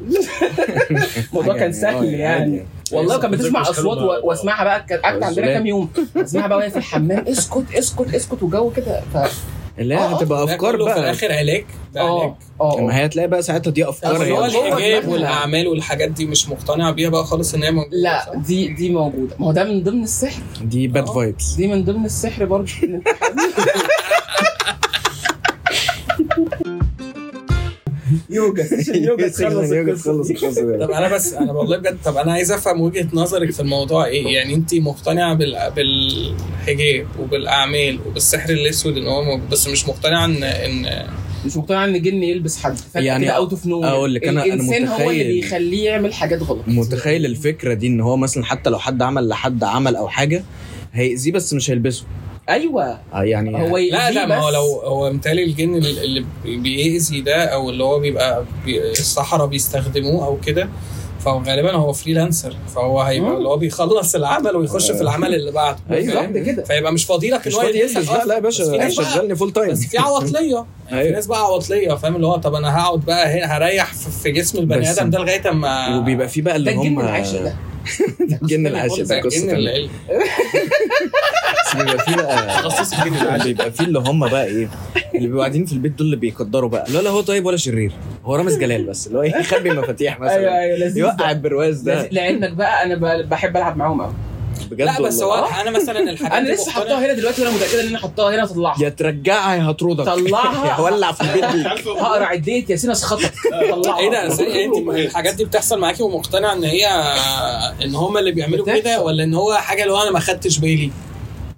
الموضوع كان سهل
آه، عادي.
يعني والله كان بتسمع
مش حلو
اصوات
مع-
و- واسمعها بقى كانت قعدت عندنا
والزلام.
كام يوم اسمعها بقى وهي في الحمام اسكت اسكت اسكت وجو كده ف
لا
آه،
هتبقى
ده
افكار
كله في
بقى
الاخر علاج ده علاج
اه اه
ما هي هتلاقي بقى ساعتها دي يعني. افكار
بس
هي
هو
مش-
جوه
الحجاب
دماغها.
والاعمال والحاجات دي مش مقتنع بيها بقى خالص ان هي موجوده صح؟
لا دي دي موجوده ما هو ده من ضمن السحر
دي باد
آه. [LAUGHS]
فايبس
دي من ضمن
[LAUGHS]
السحر برضه
[LAUGHS]
يوجا يوجا تخلص القصة
[LAUGHS]
دي.
طب انا بس انا والله بجد طب انا عايز افهم وجهه نظرك في الموضوع ايه يعني انت مقتنعه بال... بالحجاب وبالاعمال وبالسحر الاسود ان هو موجود بس مش مقتنعه ان ان
مش مقتنع ان جن يلبس حد
يعني
يعني اوت اوف نو
أقول لك أنا- أنا
الانسان هو اللي
متخيل-
بيخليه يعمل حاجات غلط
متخيل الفكره دي ان هو مثلا حتى لو حد عمل لحد عمل او حاجه هيأذيه بس مش هيلبسه
ايوه
آه، يعني
هو
لا
يأذيه
لا ما هو
بس.
لو هو متهيألي الجن اللي اللي بيأذي ده او اللي هو بيبقى بي... الصحراء بيستخدموه او كده فهو غالبا هو فريلانسر فهو هيبقى
مم.
اللي هو بيخلص العمل ويخش في العمل اللي بعده
ايوه
بالظبط كده
فيبقى مش فاضي لك
مش فاضي يلبس بقى لا يا
آه، بس في
باشا
ناس بقى-
شغلني فول تايم
بس
[LAUGHS]
في عواطليه يعني في
أيوة.
ناس بقى عواطليه فاهم اللي هو طب انا هقعد بقى هنا هريح في- في جسم البني
بس-
ادم ده لغايه اما
وبيبقى في بقى
ده
اللي هم
الجن العاشق ده
[LAUGHS]
[LAUGHS]
الجن العاشق
زي
ده قصه
الجن
تانية.
العلم.
بس بيبقى في [LAUGHS] بقى بيبقى في اللي هم بقى ايه اللي بيبقوا قاعدين في البيت دول اللي بيقدروا بقى لا لا هو طيب ولا شرير هو رامز جلال بس اللي هو إيه، يخبي مفاتيح
أيوه،
مثلا
ايوه لذيذ
يوقع البرواز
لذيذ.
ده
لعلمك بقى انا ب- بحب العب معاهم قوي
بجد
لا بس هو
والله.
انا
[LAUGHS]
مثلا الحاجات
انا
دي
لسه
مقتنع-
حطاها هنا دلوقتي وانا متاكده ان انا حطاها هنا هطلعها
يا ترجعها يا هترودك
طلعها.
يا [LAUGHS] هولع في البيت دي
هقرا عديت
[LAUGHS]
ياسين اسخطك
إيه
طلعها
ايه ده ازاي انت الحاجات دي بتحصل معاكي ومقتنع ان هي ان هما اللي بيعملوا كده
بتحصل.
ولا ان هو حاجه اللي هو انا ما خدتش بالي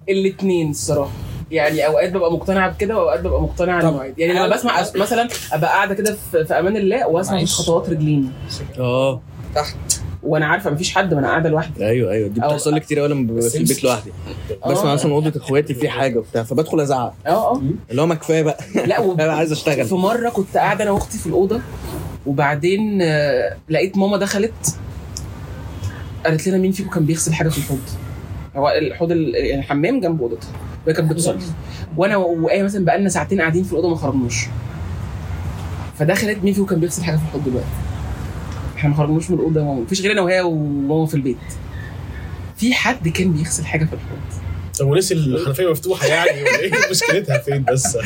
الاثنين الصراحه يعني اوقات ببقى مقتنعه بكده واوقات ببقى مقتنعه
طب.
انه عادي يعني لما بسمع أس- مثلا ابقى قاعده كده في, في امان الله واسمع
معلش.
مفيش خطوات رجلين
اه
تحت
وانا عارفه مفيش حد ما انا قاعده لوحدي
ايوه ايوه دي
أو-
بتحصل لي كتير قوي لما ببقى في البيت لوحدي بسمع
آه.
مثلا اوضه اخواتي في حاجه وبتاع فبدخل ازعق
اه اه
اللي هو ما كفايه بقى [LAUGHS]
لا وب...
انا عايز اشتغل
[LAUGHS] في مره كنت قاعده انا واختي في الاوضه وبعدين آه، لقيت ماما دخلت قالت لنا مين فيكم كان بيغسل حاجه في الحوض هو الحوض ال- يعني الحمام جنب اوضتها وهي كانت بتصلي وانا وآية مثلا بقالنا ساعتين قاعدين في الاوضه ما خرجناش فدخلت مين فيكم كان بيغسل حاجه في الحوض دلوقتي احنا ما خرجناش من الاوضه يا ماما مفيش غير انا وهي وماما في البيت في حد كان بيغسل حاجه في الحوض
طب ونسي الحنفيه مفتوحه يعني ولا ايه [LAUGHS] مشكلتها فين بس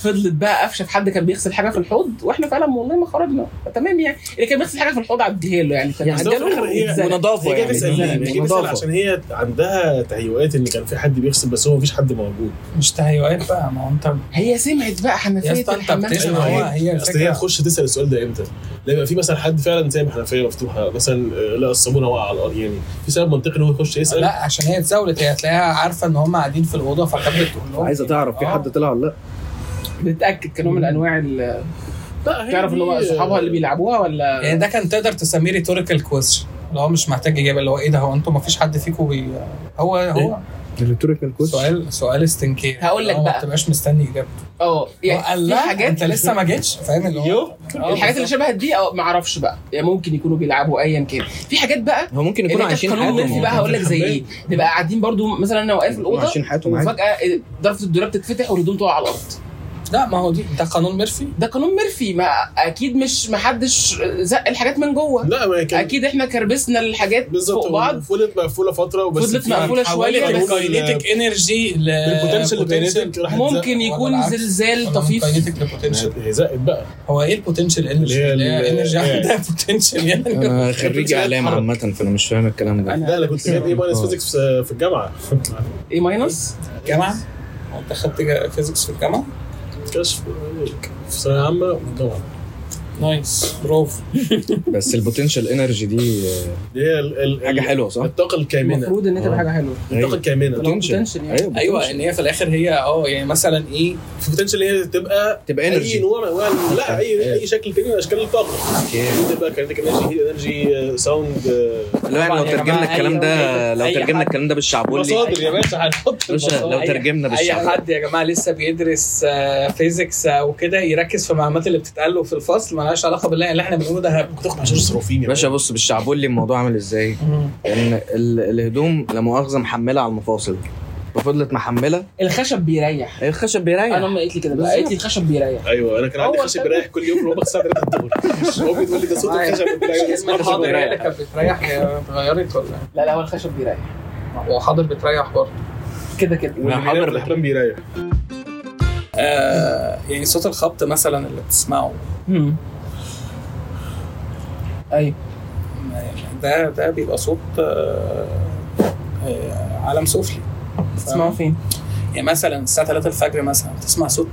فضلت بقى قفشه في حد كان بيغسل حاجه في الحوض واحنا فعلا والله ما خرجنا تمام يعني اللي كان بيغسل حاجه في الحوض عديها له يعني كان
يعني ده في
عداله
الآخر
إيه؟
هي-
واتزنق.
ونضافة
هي جايه
يعني.
تسال ليه؟
يعني
هي جايه تسال
نظافة.
عشان هي عندها تهيؤات ان كان في حد بيغسل بس هو مفيش حد موجود
مش تهيؤات بقى ما هو انت
هي سمعت بقى
يا
حنفيه
اسطى انت
الحمام
بتسمع
أيوة،
إيه؟
هو
هي-
هي
اصل هي
الفكره
هتخش تسال السؤال ده امتى؟ لا يبقى في مثلا حد فعلا زي ما الحنفيه مفتوحه مثلا آه، لقى الصابونه واقعه على الارض يعني في سبب منطقي ان هو يخش يسال
لا عشان هي اتزاولت هي هتلاقيها عارفه ان هم قاعدين في الاوضه فكانت بتقول لهم آه.
عايزه تعرف في حد طلع ولا لا
بتاكد كنوع من انواع
أيوة.
ال-
لا هي
تعرف اللي هو
دي-
صحابها اللي بيلعبوها ولا
يعني ده كان تقدر تسميه ريتوريكال كويستشن اللي هو مش محتاج اجابه اللي هو ايه ده هو انتوا ما فيش حد فيكم بي... هو
إيه؟
هو
الريتوريكال كويس
سؤال سؤال استنكاري
هقول لك
اللي هو
بقى.
ما تبقاش مستني اجابه
أه.
اه
يعني
يعني
قال
في
لا
حاجات
انت لسه ما جيتش فاهم اللي هو آه،
الحاجات
إيه؟
اللي
بالظبط.
شبه دي اه ما اعرفش بقى يعني ممكن يكونوا بيلعبوا ايا كان في حاجات بقى
هو ممكن
اللي
يكونوا
انت في
عايشين
قانون ميرفي
حياتهم
بقى هقول لك زي ايه نبقى قاعدين برضو مثلا انا واقف في
يكونوا
الاوضه
عايشين حياتهم عادي
وفجاه ظرفه الدولاب تتفتح والهدوم تقع على الارض
لا ما هو دي ده قانون ميرفي
ده قانون ميرفي ما اكيد مش محدش زق الحاجات من جوه
لا ما هي كان
اكيد احنا كربسنا الحاجات
بالظبط
فوق بعض
فضلت مقفوله فتره وبس
فضلت
في-
مقفولة. مقفولة
حولت
شوية
يعني من
بس.
كاينيتيك انرجي ل
البوتنشال اللي
potential
بينزل راحت
آه، ممكن
ولا
يكون
العكس.
زلزال
ولا من
طفيف
kinetic ل potential.
زقت. هي زقت بقى
هو ايه البوتنشال انرجي
اللي
اللي
هي
هي
ال-
انرجي
آه.
عندها بوتنشال
[LAUGHS]
يعني
انا خريج اعلام عامه فانا مش فاهم الكلام ده
لا انا كنت جايب ايه ماينس فيزيكس في الجامعه
ايه ماينس
جامعه انت خدت فيزيكس في الجامعه
كشف في ثانويه عامه طبعا
نايس برافو
بس البوتنشال انرجي دي
اللي هي ال- ال-
حاجه حلوه صح؟
الطاقه الكامنه
المفروض أيوة. ان
اه.
انت حاجه حلوه
الطاقه الكامنه
potential يعني.
ايوه
ايوه ان هي في الاخر هي اه يعني مثلا ايه
في بوتنشال هي تبقى
تبقى
اي
انرجي
نوع من انواع ال- لا اي اي شكل تاني من اشكال الطاقه دي تبقى كاينتيك انرجي هيت انرجي ساوند آه،
لو يعني لو
طبعاً يا
ترجمنا
جماعة،
الكلام ده
أي-
لو
أي
ترجمنا
حد.
الكلام ده بالشعبولي
مصادر يا باشا هنحط
باشا، لو
أي-
ترجمنا
اي
بالشعب
حد يا جماعه لسه بيدرس فيزيكس وكده يركز في المعلومات اللي بتتقال له في الفصل مالهاش علاقه بالله اللي احنا بنقوله ده
تاخد 10 صرافين
يا
يا
باشا بص بالشعبولي الموضوع عامل ازاي؟ ان ال- الهدوم لا مؤاخذه محمله على المفاصل وفضلت محمله
الخشب بيريح
هي الخشب
انا
بيريح
امي قلت لي كده بقى قالت لي الخشب بيريح
ايوه انا كان عندي
هو
خشب
الخشب.
رايح كل يوم في الوقت الساعه 3 الظهر هو بيقول لي ده صوت الخشب قلت له
[LAUGHS]
أيوة،
اسم
اسمع خشب
الحاضر
يعني.
رايح.
هي اللي كانت بتريح هي اتغيرت ولا إيه؟
لا لا هو الخشب بيريح
هو حاضر بتريح برضه
كده كده
واللي
حاضر.
بينام في الاحلام بيريح
آه يعني صوت الخبط مثلا اللي بتسمعه
مم. ايوه
يعني ده ده بيبقى صوت آه آه عالم سفلي
تسمعوا فين؟
يعني مثلا الساعه 3 الفجر مثلا تسمع صوت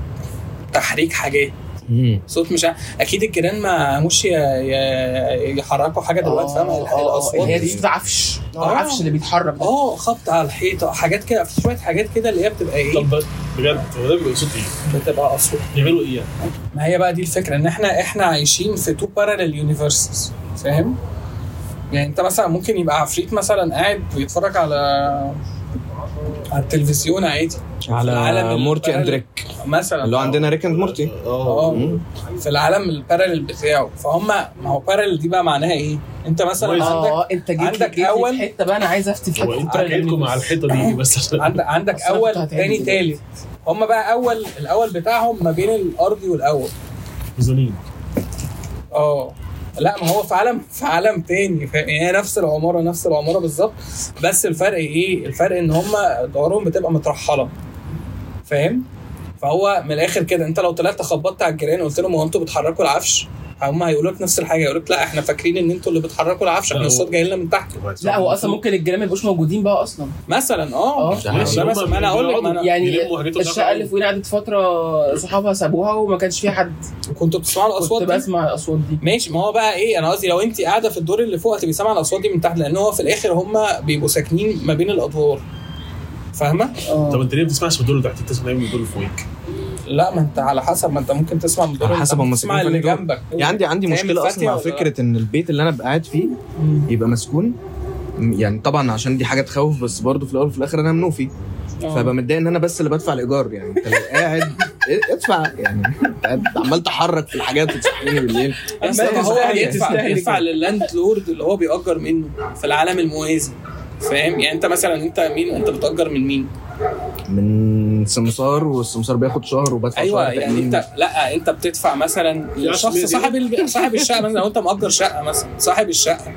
تحريك حاجات
مم.
صوت مش ع- اكيد الجيران ما قاموش ي- ي- يحركوا حاجه دلوقتي فاهم
آه، آه،
الاصوات
اللي هي
دي
صوت عفش
آه.
العفش اللي بيتحرك ده
اه خبط على الحيط حاجات كده في شويه حاجات كده اللي هي بتبقى ايه
طب بجد هو ده بيبقى صوت ايه؟
بتبقى اصوات
بيعملوا ايه يعني؟
ما هي بقى دي الفكره ان احنا احنا عايشين في تو باراليل يونيفرسز فاهم يعني انت مثلا ممكن يبقى عفريت مثلا قاعد بيتفرج على على التلفزيون عادي في
على
العالم
مورتي
الباراليل.
اند ريك
مثلا
اللي هو عندنا ريك اند مورتي
اه
اه في العالم الباراليل بتاعه فهم ما هو باراليل دي بقى معناها ايه انت مثلا
Noise.
عندك
اه انت جيت
عندك
عندك جيت اول
أول-
حته بقى انا عايز افتي
هو انتوا عينكم على الحيطه دي بس عشان
عندك عندك
أصل أنا كنت
اول
هتعمل
تاني
دلوقتي.
تالت هم بقى اول الاول بتاعهم ما بين الارضي والاول
ميزانين
اه لا ما هو في عالم في عالم تاني فاهم يعني هي نفس العماره نفس العماره بالظبط بس الفرق ايه؟ الفرق ان هم دورهم بتبقى مترحله فاهم؟ فهو من الاخر كده انت لو طلعت خبطت على الجيران قلت لهم هو انتوا بتحركوا العفش؟ هم هيقولوا لك نفس الحاجه يقولوا لك لا احنا فاكرين ان انتوا اللي بتحركوا العفش احنا
لا، هو-
الصوت جاي لنا من تحت
لا هو اصلا ممكن الجيران ما يبقوش موجودين بقى اصلا
مثلا اه
آه.
ده مثلا ما انا هقول لك ما انا
يعني
يلموا حاجات
الشقه اللي فوقينا قعدت فتره صحابها سابوها وما كانش فيها حد
كنتوا بتسمعوا الاصوات
كنت
دي؟
بسمع الاصوات دي
ماشي ما هو بقى ايه انا قصدي لو انت قاعده في الدور اللي فوق هتبقي سامعه الاصوات دي من تحت لان هو في الاخر هم بيبقوا ساكنين ما بين الادوار فاهمه؟
طب
اه
انت ليه ما بتسمعش من دول اللي تحت بتسمع من دول اللي فوقيك؟
لا ما انت على حسب ما انت ممكن تسمع من الدور
على
اللي
حسب
تحت،
هم
تسمع
ساكنين
اللي
في أنهي
جنبك
يعني عندي عندي
تعمل
مشكله اصلا
فاتحة
مع
ولا لا؟
فكره ان البيت اللي انا أبقى قاعد فيه يبقى مسكون يعني طبعا عشان دي حاجه تخوف بس برضه في الاول وفي الاخر انا منوفي
اه.
فبقى متضايق ان انا بس اللي بدفع الايجار يعني انت لو قاعد ادفع يعني أنت قاعد عمال تحرك في الحاجات وتصحيني بالليل
[LAUGHS] بس
أنت
هو
مستحيل.
يعني يدفع يدفع لللاند لورد اللي هو بيأجر منه في العالم الموازي فاهم يعني انت مثلا انت مين انت بتأجر من مين
من سمسار والسمسار بياخد شهر وبدفع
ايوه
شهر
يعني
تأمين.
انت لا انت بتدفع مثلا
يا
لشخص
أخي،
صاحب ال- صاحب الشقه مثلا لو انت مأجر شقه مثلا صاحب الشقه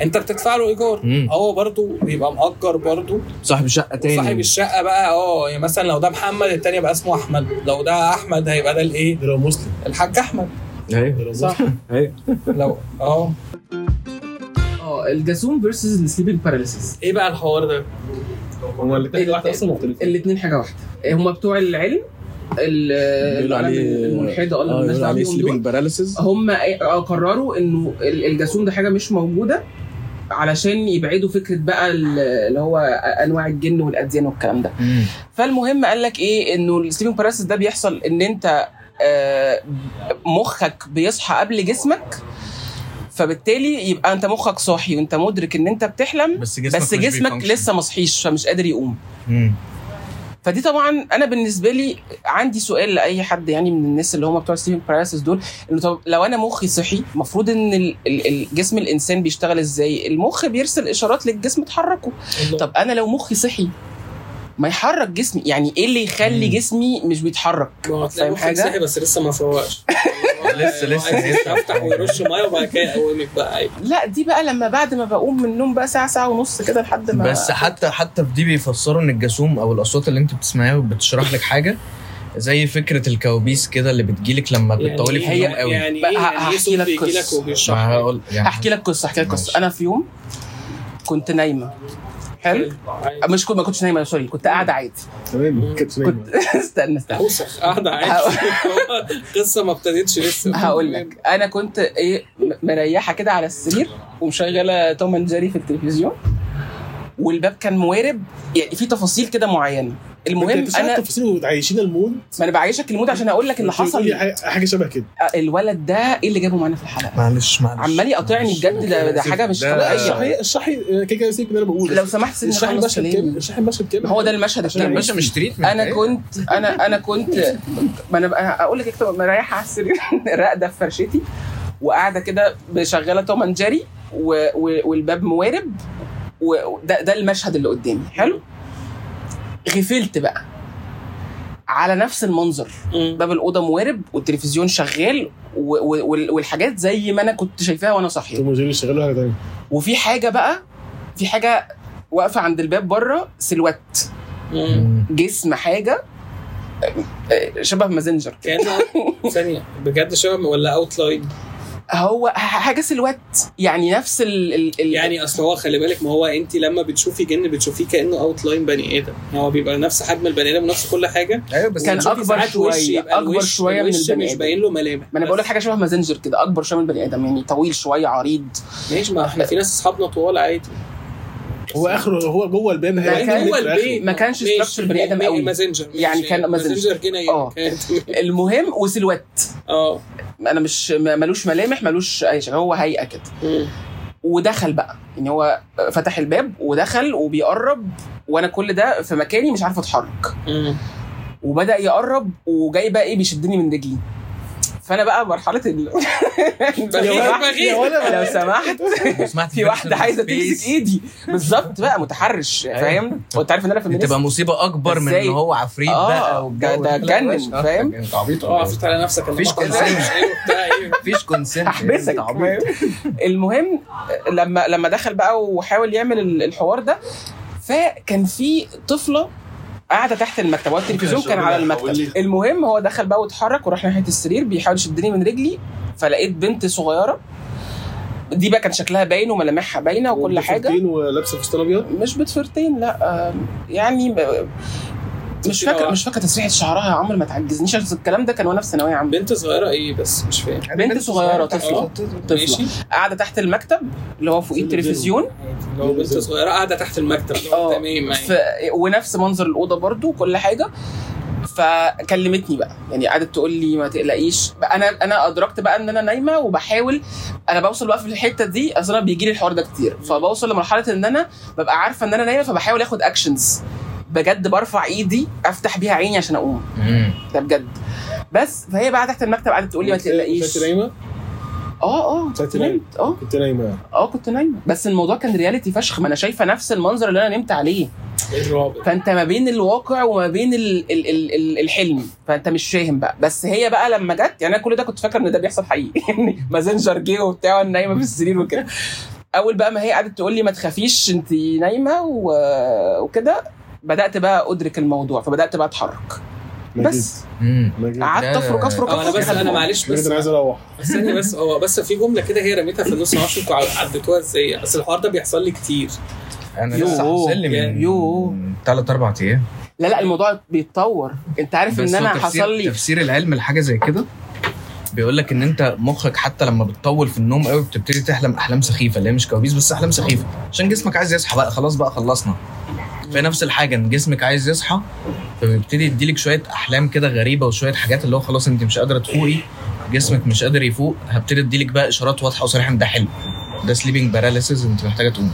انت بتدفع له ايجار
مم.
هو برضه بيبقى مأجر برضه
صاحب شقه تاني أيوة.
صاحب الشقه بقى اه يعني مثلا لو ده محمد التاني يبقى اسمه احمد لو ده احمد هيبقى ده الايه
ده لو مسلم
الحاج احمد
ايوه
صح
ايوه
لو اه
اه الجاسوم فيرسز السليبنج باراليسيس
ايه بقى الحوار ده
إيه،
هما الاثنين واحد اصلا مختلفين
الاثنين حاجه واحده إيه، هما بتوع العلم ال- العالم الملحده اه اللي مالناش
بيقولوا
دعوه
آه، عليه
بيهم دول.
سليبنج باراليسيس
هم قرروا انه ال- الجاسوم ده حاجه مش موجوده علشان يبعدوا فكره بقى ال- اللي هو انواع الجن والاديان والكلام ده فالمهم قال لك ايه انه السليبنج باراليسيس ده بيحصل ان انت آه، مخك بيصحى قبل جسمك فبالتالي يبقى انت مخك صاحي وانت مدرك ان انت بتحلم
بس جسمك
بس
مش
جسمك
بيfunction.
لسه مصحيش فمش قادر يقوم
مم.
فدي طبعا انا بالنسبه لي عندي سؤال لاي حد يعني من الناس اللي هم بتوع ستيفن باراليسيس دول انه طب لو انا مخي صحي المفروض ان ال- ال- ال- جسم الانسان بيشتغل ازاي المخ بيرسل اشارات للجسم تحركه طب انا لو مخي صحي ما يحرك جسمي يعني ايه اللي يخلي
مم.
جسمي مش بيتحرك فاهم حاجة؟
صحي بس لسه ما
[LAUGHS]
فوقش
لسه- لسه- لسه.
افتح ويرش ميه وبعد كده يقومك بقى عادي.
لا دي بقى لما بعد ما بقوم من النوم بقى ساعه ساعه ونص كده لحد ما
بس حتى حتى في دي بيفسروا ان الجاسوم او الاصوات اللي انت بتسمعها بتشرح لك حاجه زي فكره الكوابيس كده اللي بتجيلك لما بتطولي في
يعني-
اليوم قوي
يعني
بقى
ايه يعني
هحكي
ايه صوت
لك
بيجي لك
قصة.
ما [LAUGHS]
وبيشرح لك؟
هقول يعني
هحكي لك قصه احكي لك قصه
ماشي.
انا في يوم كنت نايمه حلو مش كنت ما كنتش نايمه سوري كنت قاعده عادي
تمام كانت نايمة.
أيوة.
[LAUGHS] استنى استنى
اوسخ قاعده عادي [LAUGHS] قصه ما ابتدتش لسه
هقول لك انا كنت ايه م- مريحه كده على السرير ومشغله توم اند جيري في التلفزيون والباب كان موارب يعني في تفاصيل كده معينه المهم
انا
انا
التفاصيل وعايشين المود
ما انا بعيشك المود عشان اقول لك اللي
أنت
حصل
بتقولي
آه،
حاجة- حاجه شبه كده
الولد ده ايه اللي جابه معانا في الحلقه
معلش معلش
عمال يقاطعني بجد ده, ده حاجه مش
ده-
طبيعيه
الشحي الشحي آه، كده كده سيبك من اللي انا بقوله
آه، لو سمحت سيبني
الشحي
اخلص
مشهد كامل
كلامي
الشحي مشهد كامل
هو ده المشهد
عشان
يا
الكامل
باشا مش إيه؟ تريتمنت
انا كنت انا انا
[LAUGHS]
كنت ما انا بقى اقول لك اكتب مريحه على [LAUGHS] السرير راقده في فرشتي وقاعده كده مشغله توم اند جيري و- و- والباب موارب وده ده المشهد اللي قدامي حلو غفلت بقى على نفس المنظر باب الاوضه موارب والتلفزيون شغال و- و- وال- والحاجات زي ما انا كنت شايفاها وانا صاحيه
توم وجيري شغالوا حاجه تانيه
وفي حاجه بقى في حاجه واقفه عند الباب بره سلوت
مم.
جسم حاجه آه، شبه مازنجر
كانه ثانيه بجد شبه ولا اوتلاين
هو ح- حاجه سلوت يعني نفس ال ال ال
يعني اصل هو خلي بالك ما هو انت لما بتشوفي جن بتشوفيه كانه اوتلاين بني ادم هو بيبقى نفس حجم البني ادم ونفس كل حاجه
ايوه بس
كان
وبتشوفي
أكبر
ساعات
شوية،
وش يبقى
أكبر
الوش-
شوية من
الوش
البني
مش
آدم.
باين له ملامح
ما انا بقول لك
بس.
حاجه شبه مازنجر كده اكبر شويه من البني ادم يعني طويل شويه عريض
ماشي ما احنا في ناس اصحابنا طوال عادي
هو اخره هو جوه البان
ده
هي
كان
متر
جوه
آخره.
البيت
ما كانش
ماشي.
structure بني آدم قوي.
مازنجر ماشي.
يعني كان مازنجر.
مازنجر جنيه
آه.
كان-
المهم وسلوت
اه
انا مش ما- ملوش ملامح ملوش اي شيء هو هيئه كده
مم.
ودخل بقى يعني هو فتح الباب ودخل وبيقرب وانا كل ده في مكاني مش عارفه اتحرك
مم.
وبدا يقرب وجاي بقى ايه بيشدني من رجلي فانا بقى مرحله ال... [LAUGHS]
بغير-
لو سمحت-
بغير.
لو سمحت
سمعت
في واحده عايزه تمسك ايدي بالظبط بقى متحرش فاهم وانت عارف ان انا في
تبقى مصيبه اكبر من ان
إزاي؟
هو عفريت
آه،
بقى
ده-
والجو
ده
لا يا
جنن،
باشا،
فاهم؟ آه،
انت عبيط
اه
ولا إيه؟
قفلت على نفسك
مفيش consent.
ايه
مفيش يعني كونسنت
هحبسك أيوة. المهم لما لما دخل بقى وحاول يعمل ال- الحوار ده فكان في طفله قاعده تحت المكتب هو التلفزيون كان على المكتب المهم هو دخل بقى واتحرك وراح ناحيه السرير بيحاول يشدني من رجلي فلقيت بنت صغيره دي بقى كان شكلها باين وملامحها باينه وكل حاجه
وبفستين ولابسه فستان ابيض
مش بتفرتين لا آم، يعني م- مش فاكره مش فاكره تسريحه شعرها يا عمرو ما تعجزنيش عشان الكلام ده كان وانا في ثانويه عامه
بنت صغيره ايه بس مش فاهم
يعني
بنت صغيره طفله
آه.
طفله
ماشي
قاعده تحت المكتب اللي هو فوقيه التلفزيون
لو بنت صغيره قاعده تحت المكتب
اه.
تمام يعني.
ف... ونفس منظر الاوضه برضو وكل حاجه فكلمتني بقى يعني قعدت تقول لي ما تقلقيش بقى انا انا ادركت بقى ان انا نايمه وبحاول انا بوصل بقى في الحته دي اصل انا بيجي لي الحوار ده كتير فبوصل لمرحله ان انا ببقى عارفه ان انا نايمه فبحاول اخد اكشنز بجد برفع ايدي افتح بيها عيني عشان اقوم ده بجد بس فهي بقى تحت المكتب قعدت تقول لي
إيه،
ما تقلقيش
كنت نايمه
اه اه
كنت نايمة؟
نمت اه
كنت نايمه
اه كنت نايمه بس الموضوع كان رياليتي فشخ ما انا شايفه نفس المنظر اللي انا نمت عليه
إيه
ايه الرابط
فانت ما بين الواقع وما بين ال ال ال ال الحلم فانت مش فاهم بقى بس هي بقى لما [LAUGHS] جت يعني انا كل ده كنت فاكر ان ده بيحصل حقيقي يعني مازنجر جه وبتاع وانا نايمه في السرير وكده اول بقى ما هي قعدت تقول لي ما تخافيش انت نايمه و- وكده بدات بقى ادرك الموضوع فبدات بقى اتحرك بس
مم.
ماجد
قعدت
لا، لا،
افرك
لا.
افرك
أو انا
أفرك.
آه، بس انا معلش
ماجد [LAUGHS]
بس
انا عايز اروح
ثانية بس هو بس في جملة كده هي رميتها في النص معرفش انتوا عديتوها ازاي بس الحوار ده بيحصل لي كتير
انا
يو.
لسه حاصل لي من
يو.
ثلاث اربع ايام
لا لا الموضوع بيتطور انت عارف
بس
ان انا
هو تفسير-
حصل لي
تفسير العلم لحاجه زي كده بيقول لك ان انت مخك حتى لما بتطول في النوم قوي بتبتدي تحلم احلام سخيفه اللي هي مش كوابيس بس احلام سخيفه عشان جسمك عايز يصحى بقى خلاص بقى خلصنا في نفس الحاجه ان جسمك عايز يصحى فبيبتدي يديلك شويه احلام كده غريبه وشويه حاجات اللي هو خلاص انت مش قادره تفوقي جسمك مش قادر يفوق هبتدي اديلك بقى اشارات واضحه وصريحه ان ده حلم ده سليبنج باراليسز انت محتاجه تقوم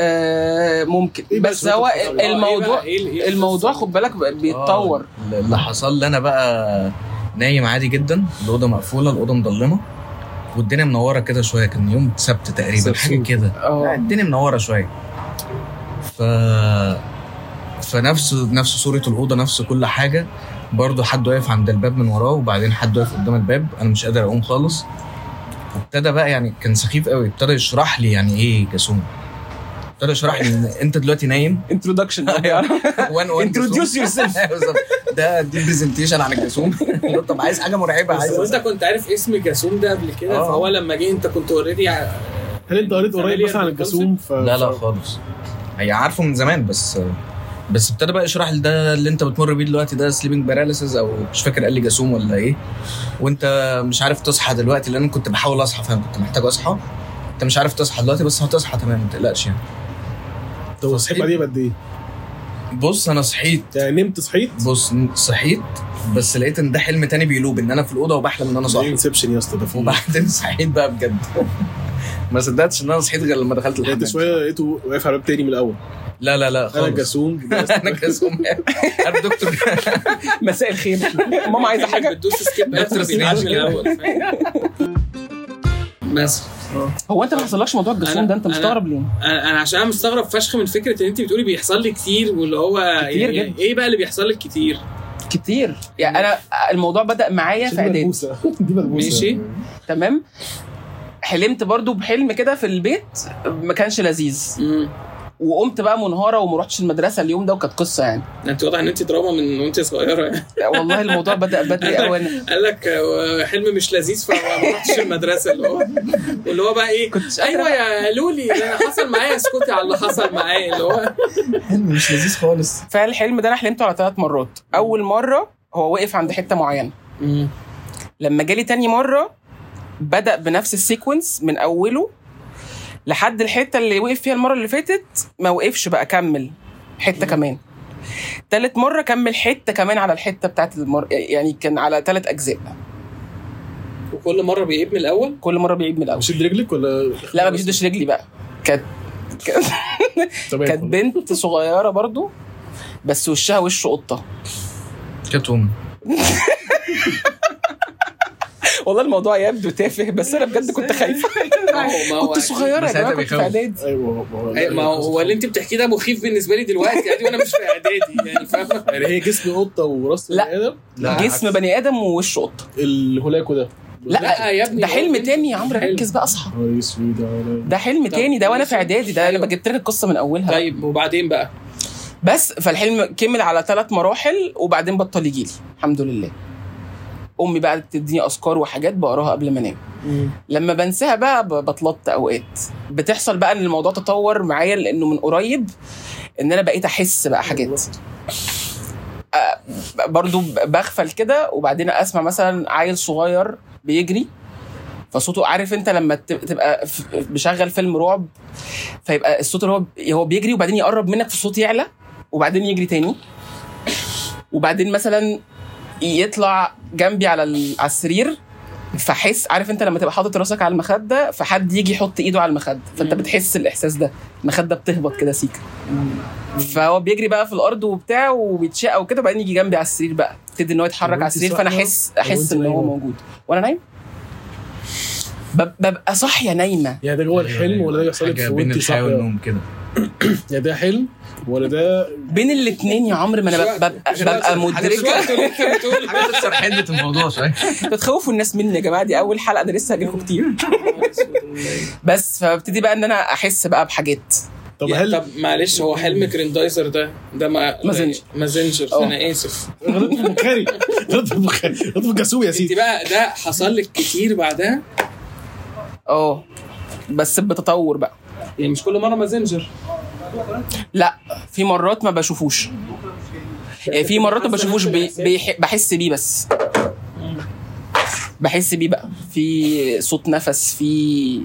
آه ممكن بس هو
إيه
الموضوع الموضوع خد بالك بيتطور
آه، اللي حصل لي انا بقى نايم عادي جدا الاوضه مقفوله الاوضه مضلمه والدنيا منوره كده شويه كان يوم سبت آه. تقريبا حاجه كده لا،
اه
الدنيا منوره شويه ف فنفس نفس صوره الاوضه نفس كل حاجه برضه حد واقف عند الباب من وراه وبعدين حد واقف قدام الباب انا مش قادر اقوم خالص ابتدى بقى يعني كان سخيف قوي ابتدى يشرح لي يعني ايه جاسوم ابتدى يشرح لي ان انت دلوقتي نايم
انترودكشن
وان وان
انتروديوس يور سيلف
[LAUGHS] بالظبط. ده دي برزنتيشن عن الجاسوم [LAUGHS] طب عايز حاجه مرعبه
بس
عايز
انت كنت عارف اسم جاسوم ده قبل كده
آه.
فهو لما جه انت كنت اوريدي
هل انت قريت قريب مثلا عن الجاسوم ف...
لا لا خالص هي عارفه من زمان بس بس ابتدى بقى يشرح لي ده اللي انت بتمر بيه دلوقتي ده سليبنج باراليسز او مش فاكر قال لي جاسوم ولا ايه وانت مش عارف تصحى دلوقتي لان كنت بحاول اصحى فاهم كنت محتاج اصحى انت مش عارف تصحى دلوقتي بس هتصحى تمام ما تقلقش يعني
طب صحيت بعديها قد ايه؟
بص انا صحيت
يعني نمت صحيت
بص صحيت بس لقيت ان ده حلم تاني بيلوب ان انا في الاوضه وبحلم ان انا
ده
صاحي
انسبشن يا اسطى ده فوق
وبعدين [LAUGHS] صحيت بقى بجد ما صدقتش ان انا صحيت غير لما دخلت
لقيت
الحمام
شويه لقيته واقف على الباب تاني من الاول
لا لا لا
انا
[LAUGHS] خالص
الجاسوم
انا جاسوم انا دكتور
مساء الخير ماما عايزه حاجه
بتدوس سكيب
دكتور
بيتعاش
سنين.
الاول بس
هو انت ما حصلكش موضوع الجاسوم
أنا-
ده انت
أنا-
مستغرب ليه؟
انا أنا عشان انا مستغرب فشخ من فكره ان انت بتقولي بيحصل لي كتير واللي هو
كتير
يعني ايه بقى اللي بيحصل لك كتير
كتير يعني انا الموضوع بدا معايا في اعدادي
دي ملبوسه
ماشي
تمام حلمت برضو بحلم كده في البيت ما كانش لذيذ
امم
وقمت بقى منهاره وما رحتش المدرسه اليوم ده وكانت قصه يعني
انت واضح ان انت دراما من وانت صغيره يعني
والله الموضوع بدا بدري قوي انا
[LAUGHS] قال لك آه، حلم مش لذيذ فما رحتش المدرسه اللي هو واللي هو بقى ايه
كنتش قادرة
ايوه يا لولي انا حصل معايا اسكتي على اللي حصل معايا اللي هو
حلم مش لذيذ خالص
فالحلم ده انا حلمته على ثلاث مرات اول مره هو وقف عند حته معينه لما جالي تاني مره بدا بنفس السيكونس من اوله لحد الحته اللي وقف فيها المره اللي فاتت ما وقفش بقى كمل حته كمان تالت مره كمل حته كمان على الحته بتاعت المر... يعني كان على تلات اجزاء
وكل مره بيقيب من الاول
كل مره بيعيد من الاول
مشيت برجلك ولا
لا ما بيشدش رجلي بقى كانت
تمام
كانت بنت صغيره برضو بس وشها وش قطه
كتوم
والله الموضوع يبدو تافه بس انا بجد كنت خايفه
ما هو- ما هو
كنت
أكيد.
صغيره يا
بس هذا
جماعه كنت في
بيخوف.
اعدادي
ايوه ما هو-
أي- أيوة، ما هو هو اللي انت بتحكيه ده مخيف بالنسبه لي دلوقتي يعني وانا مش في اعدادي يعني فاهم
يعني هي جسم قطه وراس
لا.
بني ادم
جسم بني ادم ووش قطه
الهلاكو ده
لا
لا يا ابني
ده
هو
حلم
ده-
تاني يا عمرو
حلم.
ركز بقى اصحى
نهار اسود على-
ده حلم
طب
تاني ده وانا في
ماشي.
اعدادي ده انا
أيوة.
جبت لك القصه من اولها
طيب وبعدين بقى
بس فالحلم كمل على ثلاث مراحل وبعدين بطل يجيلي الحمد لله امي بقى تديني اذكار وحاجات بقراها قبل ما انام لما بنساها بقى ب- بتلط اوقات بتحصل بقى ان الموضوع تطور معايا لانه من قريب ان انا بقيت احس بقى حاجات آه، ب- برضو ب- بغفل كده وبعدين اسمع مثلا عيل صغير بيجري فصوته عارف انت لما ت- تبقى ف- مشغل فيلم رعب فيبقى الصوت اللي هو ب- هو بيجري وبعدين يقرب منك فالصوت يعلى وبعدين يجري تاني وبعدين مثلا يطلع جنبي على ال- على السرير فحس عارف انت لما تبقى حاطط راسك على المخده فحد يجي يحط ايده على المخده فانت
مم.
بتحس الاحساس ده المخده بتهبط كده سيكا فهو بيجري بقى في الارض وبتاع وبيتشقى وكده وبعدين يجي جنبي على السرير بقى ابتدي ان هو يتحرك على
وانت
السرير فانا
صاحية؟
احس احس
وانت
ان هو
نايمة؟
موجود وانا نايم بب- ببقى صاحيه نايمه
يعني ده جوه الحلم ولا ده بيحصل لك
أيوة، حاجة
في
بين
وانت
الحياة
صاحيه
والنوم كده
يا يعني ده حلم ولا ده
بين الاثنين يا عمرو ما انا ببقى ببقى, ببقى مدركه
حاجه تكسر حده الموضوع شويه
[LAUGHS] بتخوفوا الناس مني يا جماعه دي اول حلقه انا لسه هجيلكم كتير [LAUGHS] بس فببتدي بقى ان انا احس بقى بحاجات
[LAUGHS] طب
يعني
هل
طب معلش هو حلم كريندايزر ده ده ما
مازنجر.
مازنجر
اه.
انا اسف
[LAUGHS] غلط في البخاري غلط في البخاري غلط في الجاسوب يا
انت
سيدي
بقى ده حصل لك كتير بعدها
اه بس بتطور بقى
يعني مش كل مره مازنجر
لا في مرات ما بشوفوش يعني في مرات ما بشوفوش بي بيح- بحس بيه بس بحس بيه بقى في صوت نفس في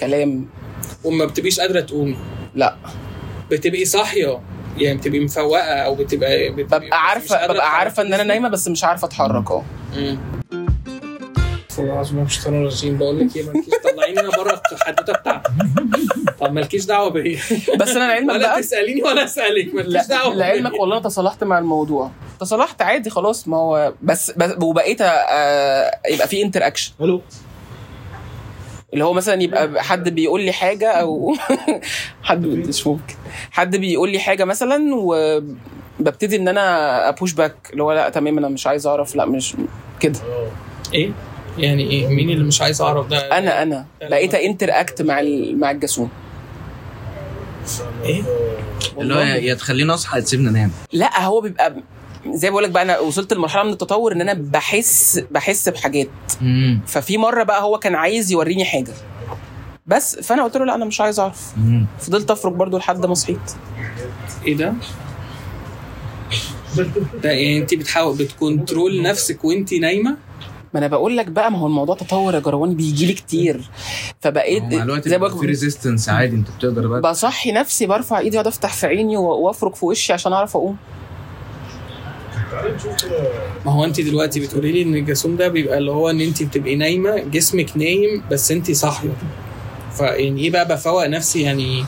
كلام
وما بتبقيش قادره تقومي
لا
بتبقي صاحيه يعني بتبقي مفوقه او بتبقى, بتبقي بس مش
ببقى عارفه
قادرة
ببقى عارفه ان انا
تتحرك.
نايمه بس مش عارفه اتحرك اه
مم. استغفر الله العظيم مش طالع رجيم بقول لك ايه مالكيش طلعيني انا بره الحدوته بتاعتي طب مالكيش دعوه بيا
بس انا لعلمك
[LAUGHS] ولا
بقى
تساليني ولا اسالك مالكيش
لا
دعوه
لعلمك
بيا.
والله تصالحت مع الموضوع تصالحت عادي خلاص ما هو بس, بس وبقيت آه، يبقى في انتر اكشن
الو
اللي هو مثلا يبقى حد بيقول لي حاجه او [LAUGHS] حد مش ممكن حد بيقول لي حاجه مثلا وببتدي ان انا ابوش باك اللي هو لا تمام انا مش عايز اعرف لا مش كده
ايه يعني ايه مين اللي مش عايز اعرف ده
انا انا بقيت انتر اكت مع ال- مع الجاسوم
إيه؟
ايه
اللي هو يا تخليني اصحى يا تسيبني انام
لا هو بيبقى زي ما بقول لك بقى انا وصلت لمرحله من التطور ان انا بحس بحس بحاجات
امم
ففي مره بقى هو كان عايز يوريني حاجه بس فانا قلت له لا انا مش عايز اعرف
امم
فضلت افرك برضو لحد ما صحيت
ايه ده ده يعني انت بتحاول بتكنترول نفسك وانت نايمه
ما انا بقول لك بقى ما هو الموضوع تطور يا جروان بيجي لي كتير فبقيت
مع الوقت
زي ما
بيبقى في
بقول-
ريزيستنس عادي انت بتقدر بقى
بصحي نفسي برفع ايدي واقعد افتح في عيني و- وافرك في وشي عشان اعرف اقوم
ما هو انت دلوقتي بتقولي لي ان الجاسوم ده بيبقى اللي هو ان انت بتبقي نايمه جسمك نايم بس انت صاحيه فيعني ايه بقى بفوق نفسي يعني إيه؟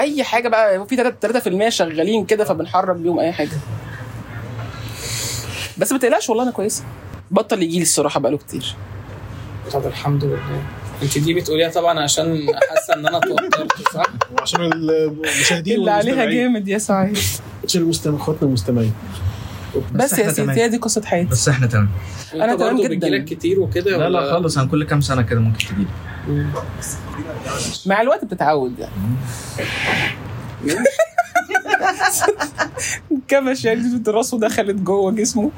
اي حاجه بقى هو في 3% شغالين كده فبنحرك بيهم اي حاجه بس ما تقلقش والله انا كويسه بطل يجي لي الصراحه بقاله كتير
طب الحمد لله انت دي بتقوليها طبعا عشان حاسه ان انا اتوترت صح؟
وعشان المشاهدين والمستمعين
جامد يا سعيد
عشان المستمع اخواتنا المستمعين
بس يا [LAUGHS]
إحنا
سيدي
تمام.
هي دي قصه حياتي
بس احنا تمام
وانت
أنا تمام
برضه
جداً.
بتجيلك كتير وكده
لا
ولا-
لا خالص انا كل كام سنه كده ممكن تجيلي
مع الوقت بتتعود يعني كبش يعني راسه دخلت جوه جسمه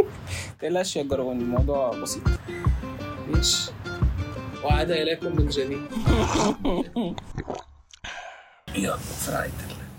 [LAUGHS] تقلقش يا جروان الموضوع بسيط
ماشي وعاد اليكم من جديد
يلا فرايد